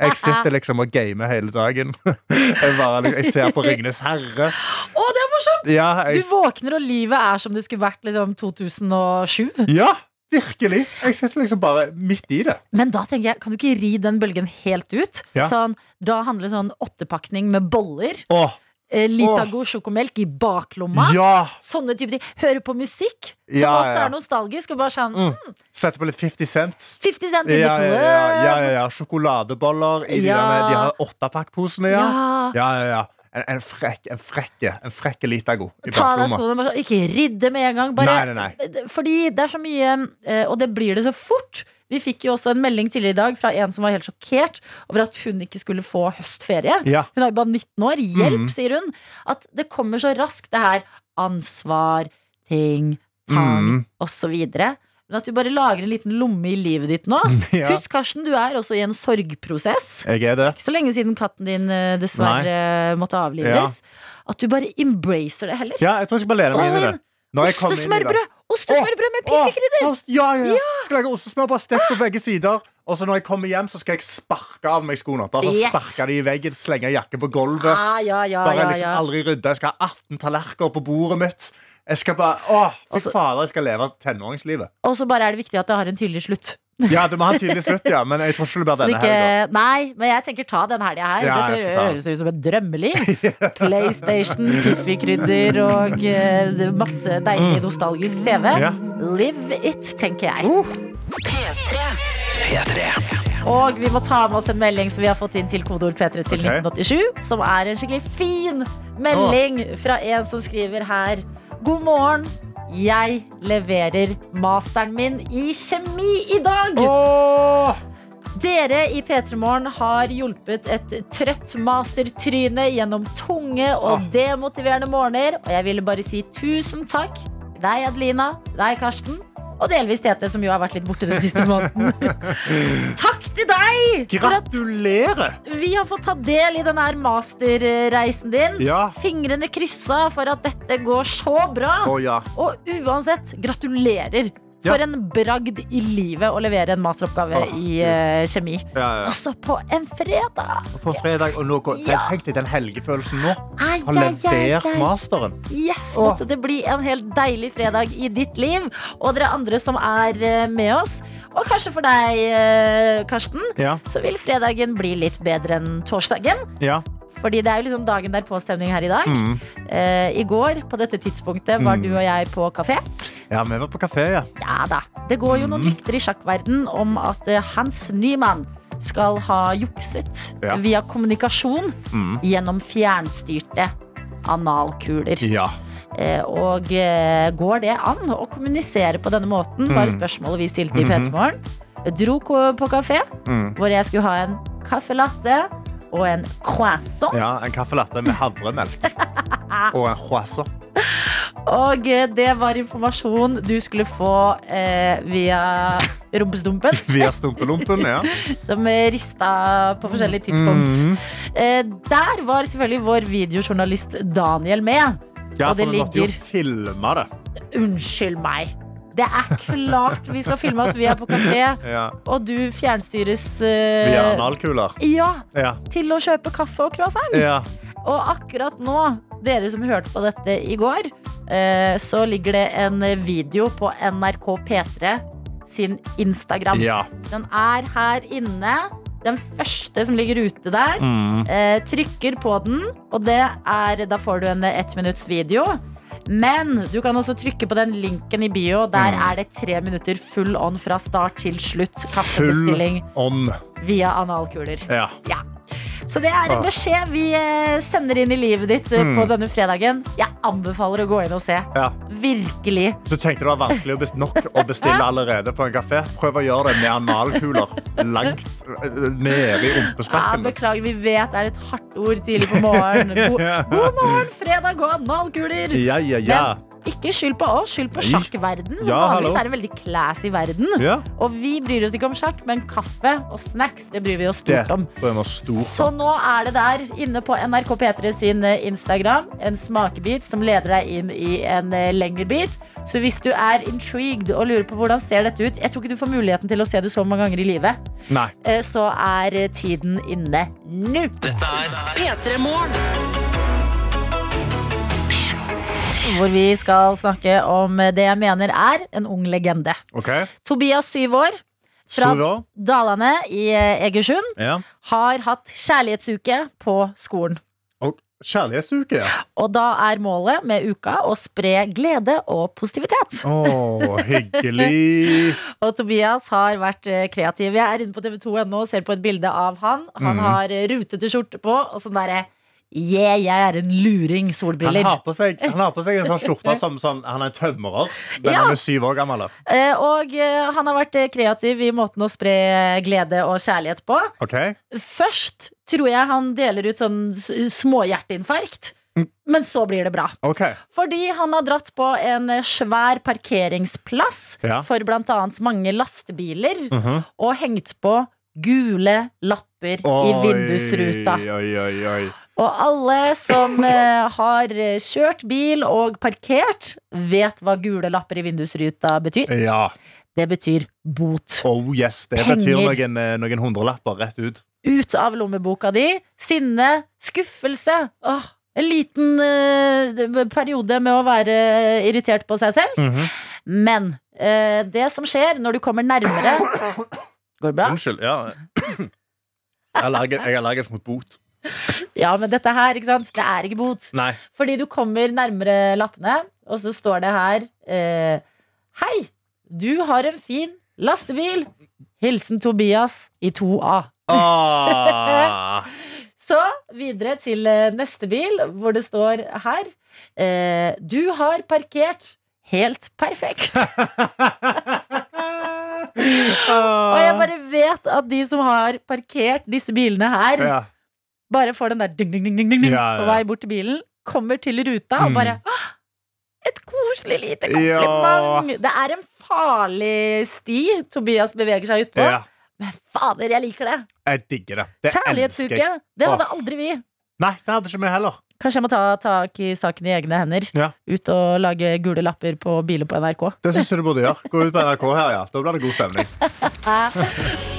Speaker 3: Jeg sitter liksom og gamer hele dagen. Jeg, bare, liksom- jeg ser på Ringenes herre.
Speaker 2: Å, det er morsomt!
Speaker 3: Ja,
Speaker 2: Du
Speaker 3: jeg,
Speaker 2: våkner, og livet er som det skulle vært liksom 2007.
Speaker 3: ja, virkelig. Jeg sitter liksom bare midt i det.
Speaker 2: Men da tenker jeg, kan du ikke ri den bølgen helt ut?
Speaker 3: Ja.
Speaker 2: Sånn, da handler sånn åttepakning med boller,
Speaker 3: Åh,
Speaker 2: eh, lita
Speaker 3: Åh.
Speaker 2: god sjokomelk i baklomma.
Speaker 3: ja!
Speaker 2: Sånne type ting. Høre på musikk som
Speaker 3: Ja,
Speaker 2: også
Speaker 3: ja.
Speaker 2: er nostalgisk. Og bare sånn
Speaker 3: Mm. Setter på litt 50 Cent.
Speaker 2: 50 Cent in the
Speaker 3: Ja, ja,
Speaker 2: club.
Speaker 3: ja, ja, ja, ja. Sjokoladeboller i de,
Speaker 2: Ja.
Speaker 3: derne, de har åttepakkposene, ja.
Speaker 2: Ja.
Speaker 3: ja, ja, ja. En, en frekk, en frekke, en frekke Litago i
Speaker 2: Ta av deg
Speaker 3: baklomma.
Speaker 2: skoene. Bare, sånn, ikke ridde med en gang. Bare,
Speaker 3: Nei, nei,
Speaker 2: Eh, Fordi det er så mye, eh, og det blir det så fort. Vi fikk jo også en melding tidligere i dag fra en som var helt sjokkert over at hun ikke skulle få høstferie.
Speaker 3: Ja.
Speaker 2: Hun er jo bare 19 år. Hjelp,
Speaker 3: Mm.
Speaker 2: sier hun. At det kommer så raskt, det her. Ansvar, ting, tang
Speaker 3: Mm.
Speaker 2: osv. Men at du bare lager en liten lomme i livet ditt nå.
Speaker 3: Ja.
Speaker 2: Husk, Karsten, du er også i en sorgprosess.
Speaker 3: Jeg er det.
Speaker 2: Ikke så lenge siden katten din eh, dessverre måtte avlives. At du bare embracer det heller.
Speaker 3: Ja, jeg tror jeg skal bare lene meg inn i det. Når jeg kommer inn i det-
Speaker 2: Ostesmørbrød! Ostesmørbrød med
Speaker 3: Åh,
Speaker 2: piffikrydder! Ah.
Speaker 3: toast- Ja, ja, ja. Skal lage ostesmørbrød stekt på begge sider. Og så når jeg kommer hjem, så skal jeg sparke av meg skoene. Altså,
Speaker 2: Yes.
Speaker 3: Sparke de i veggen, slenge jakken på gulvet.
Speaker 2: Ja, ja, ja,
Speaker 3: Bare
Speaker 2: ja,
Speaker 3: liksom
Speaker 2: ja.
Speaker 3: aldri rydde. Jeg skal ha 18 tallerkener på bordet mitt. Jeg skal bare, åh, fy
Speaker 2: Altså-
Speaker 3: fader, jeg skal leve tenåringslivet.
Speaker 2: Og så bare er det viktig at det har en tydelig slutt.
Speaker 3: Ja, det må ha en tydelig slutt, ja, men jeg tror ikke det blir
Speaker 2: Men ikke,
Speaker 3: denne helga.
Speaker 2: nei, men jeg tenker ta den helga her.
Speaker 3: Ja, jeg
Speaker 2: Dette
Speaker 3: skal ta den.
Speaker 2: høres ut som et drømmeliv. PlayStation, Kiffi-krydder og eh, det er masse deilig nostalgisk TV.
Speaker 3: Mm. Ja. Uh.
Speaker 2: Live it, tenker jeg. Og vi må ta med oss en melding som vi har fått inn til kodeord P3 til
Speaker 3: Ok.
Speaker 2: 1987. Som er en skikkelig fin melding fra en som skriver her. God morgen. Jeg leverer masteren min i kjemi i dag.
Speaker 3: Åh!
Speaker 2: Dere i P3 Morgen har hjulpet et trøtt mastertryne gjennom tunge og
Speaker 3: Åh.
Speaker 2: demotiverende morgener. Og jeg ville bare si tusen takk til deg, Adelina, deg, Karsten, og delvis Tete, som jo har vært litt borte den siste måneden. takk til deg for at
Speaker 3: Gratulerer!
Speaker 2: vi har fått ta del i denne her masterreisen din.
Speaker 3: Ja.
Speaker 2: Fingrene kryssa for at dette går så bra.
Speaker 3: Å ja.
Speaker 2: Og uansett, gratulerer.
Speaker 3: Ja.
Speaker 2: For en bragd i livet å levere en masteroppgave
Speaker 3: Åh,
Speaker 2: i
Speaker 3: Gud.
Speaker 2: eh, kjemi.
Speaker 3: ja, ja.
Speaker 2: Også på en fredag!
Speaker 3: Og På fredag, og nå går
Speaker 2: Ja.
Speaker 3: Tenk deg den helgefølelsen nå.
Speaker 2: Ai,
Speaker 3: Har
Speaker 2: ai, ai,
Speaker 3: levert
Speaker 2: ai.
Speaker 3: masteren.
Speaker 2: Yes,
Speaker 3: Åh.
Speaker 2: Måtte det bli en helt deilig fredag i ditt liv. Og dere andre som er eh, med oss. Og kanskje for deg, eh, Karsten,
Speaker 3: Ja,
Speaker 2: så vil fredagen bli litt bedre enn torsdagen.
Speaker 3: ja.
Speaker 2: Fordi det er jo liksom dagen der påstemning her i dag. Eh, I går på dette tidspunktet var
Speaker 3: Mm.
Speaker 2: du og jeg på kafé.
Speaker 3: ja vi var på kafé, ja.
Speaker 2: Ja da. Det går jo noen
Speaker 3: Mm.
Speaker 2: rykter i sjakkverden om at eh, Hans Nyman skal ha jukset
Speaker 3: Ja.
Speaker 2: via kommunikasjon
Speaker 3: Mm.
Speaker 2: gjennom fjernstyrte analkuler.
Speaker 3: Ja.
Speaker 2: Eh, Og eh, går det an å kommunisere på denne måten? Bare spørsmålet vi stilte i P3 Morgen. Dro ko- på kafé,
Speaker 3: Mm.
Speaker 2: hvor jeg skulle ha en caffè latte og en croissant.
Speaker 3: ja en kaffelatte med havremelk. Og en croissant.
Speaker 2: Og eh, det var informasjon du skulle få eh, via rumpestumpen,
Speaker 3: Via stumpelumpen, ja. Mm.
Speaker 2: som eh, rista på forskjellige tidspunkt.
Speaker 3: Mhm.
Speaker 2: Eh, Der var selvfølgelig vår videojournalist Daniel med.
Speaker 3: Ja,
Speaker 2: Og det
Speaker 3: for vi måtte jo
Speaker 2: ligger-
Speaker 3: filme det.
Speaker 2: Unnskyld meg. Det er klart vi skal filme at vi er på kafé.
Speaker 3: Ja.
Speaker 2: Og du fjernstyres eh,
Speaker 3: Via analkuler.
Speaker 2: Ja,
Speaker 3: Ja.
Speaker 2: til å kjøpe kaffe og croissant.
Speaker 3: ja.
Speaker 2: Og akkurat nå, dere som hørte på dette i går, eh, så ligger det en video på NRK P3 sin Instagram.
Speaker 3: ja.
Speaker 2: Den er her inne. Den første som ligger ute der.
Speaker 3: Mm.
Speaker 2: Eh, trykker på den, og det er, da får du en ettminutts video. Men du kan også trykke på den linken i bio. Der
Speaker 3: Mm.
Speaker 2: er det tre minutter full on fra start til slutt. Kaffebestilling
Speaker 3: Full on.
Speaker 2: via analkuler.
Speaker 3: Ja.
Speaker 2: Ja. Så det er en
Speaker 3: Ah. Hmm.
Speaker 2: beskjed vi eh, sender inn i livet ditt eh, på denne fredagen. Jeg anbefaler å gå inn og se.
Speaker 3: ja.
Speaker 2: Virkelig.
Speaker 3: Så tenkte du det var vanskelig å bes- nok å bestille allerede på en kafé. Prøv å gjøre det med analkuler langt eh, nede i
Speaker 2: Ja,
Speaker 3: rumpesprekken.
Speaker 2: Ah, beklager, vi vet det er et hardt ord tidlig på morgenen. God, god morgen, fredag og analkuler!
Speaker 3: Ja, ja, ja.
Speaker 2: Men ikke skyld på oss, skyld på
Speaker 3: Nei.
Speaker 2: sjakkverden. Som
Speaker 3: Ja, hallo.
Speaker 2: vanligvis er en veldig classy verden.
Speaker 3: ja.
Speaker 2: Og vi bryr oss ikke om sjakk, men kaffe og snacks det bryr vi oss
Speaker 3: Det
Speaker 2: stort om.
Speaker 3: bør vi stort
Speaker 2: Så nå er det der, inne på NRK P3 sin eh, Instagram, en smakebit som leder deg inn i en eh, lengre bit. Så hvis du er intrigued og lurer på hvordan ser dette ut Jeg tror ikke du får muligheten til å se det så mange ganger i livet.
Speaker 3: Nei.
Speaker 2: eh, Så er eh, tiden inne nå.
Speaker 1: P3 Morgen.
Speaker 2: Hvor vi skal snakke om eh, det jeg mener er en ung legende.
Speaker 3: OK.
Speaker 2: Tobias, syv år,
Speaker 3: Så da
Speaker 2: Dalane i eh, Egersund,
Speaker 3: ja.
Speaker 2: har hatt kjærlighetsuke på skolen.
Speaker 3: Og kjærlighetsuke, ja.
Speaker 2: Og da er målet med uka å spre glede og positivitet.
Speaker 3: Å, hyggelig.
Speaker 2: Og Tobias har vært eh, kreativ. Jeg er inne på tv2.no og ser på et bilde av han. Han
Speaker 3: Mhm.
Speaker 2: har eh, rutete skjorte på og sånn derre Yeah, jeg er en luring
Speaker 3: Han
Speaker 2: solbriller.
Speaker 3: har på seg, han har på seg en sånn skjorte som sånn, han er en tømrer, men
Speaker 2: Ja.
Speaker 3: han er syv år gammel. da.
Speaker 2: Eh, og eh, han har vært eh, kreativ i måten å spre eh, glede og kjærlighet på.
Speaker 3: OK?
Speaker 2: Først tror jeg han deler ut sånn s- småhjerteinfarkt,
Speaker 3: Mm.
Speaker 2: men så blir det bra.
Speaker 3: OK.
Speaker 2: Fordi han har dratt på en eh, svær parkeringsplass
Speaker 3: Ja.
Speaker 2: for blant annet mange lastebiler,
Speaker 3: Mhm.
Speaker 2: og hengt på gule lapper i
Speaker 3: Oi,
Speaker 2: vindusruta.
Speaker 3: Oi, oi, oi.
Speaker 2: Og alle som eh, har kjørt bil og parkert, vet hva gule lapper i vindusruta betyr.
Speaker 3: Ja.
Speaker 2: Det betyr bot.
Speaker 3: Oh yes. Det
Speaker 2: Penger.
Speaker 3: betyr noen, eh, noen hundrelapper rett ut.
Speaker 2: Ut av lommeboka di. Sinne. Skuffelse. Åh, en liten eh, periode med å være irritert på seg selv.
Speaker 3: Mhm.
Speaker 2: Men eh, det som skjer når du kommer nærmere Går det bra?
Speaker 3: Unnskyld. Ja. Jeg er allergisk, jeg er allergisk mot bot.
Speaker 2: Ja, men dette her, ikke sant? Det er ikke bot.
Speaker 3: Nei.
Speaker 2: Fordi du kommer nærmere lappene, og så står det her eh, Hei, du har en fin lastebil. Hilsen Tobias i 2A.
Speaker 3: Ah.
Speaker 2: Så videre til eh, neste bil, hvor det står her eh, Du har parkert helt perfekt.
Speaker 3: Ah.
Speaker 2: Og jeg bare vet at de som har parkert disse bilene her,
Speaker 3: ja.
Speaker 2: bare får den der ding, ding, ding, ding, ding, ding
Speaker 3: Ja, ja.
Speaker 2: på vei bort til bilen, kommer til ruta og
Speaker 3: Mm.
Speaker 2: bare «Åh, Et koselig lite
Speaker 3: Ja.
Speaker 2: kompliment! Det er en farlig sti Tobias beveger seg ut på,
Speaker 3: ja.
Speaker 2: men fader, jeg liker det!
Speaker 3: Jeg digger det. det elsker
Speaker 2: Kjærlighetsuke!
Speaker 3: jeg.
Speaker 2: Det hadde
Speaker 3: Åh.
Speaker 2: aldri vi.
Speaker 3: Nei, det hadde ikke vi heller.
Speaker 2: Kanskje jeg må ta tak i saken i egne hender.
Speaker 3: Ja.
Speaker 2: Ut og lage gule lapper på biler på NRK.
Speaker 3: Det syns jeg du burde gjøre. Gå ut på NRK her, ja. Da blir det god stemning.
Speaker 1: P3 Morgen.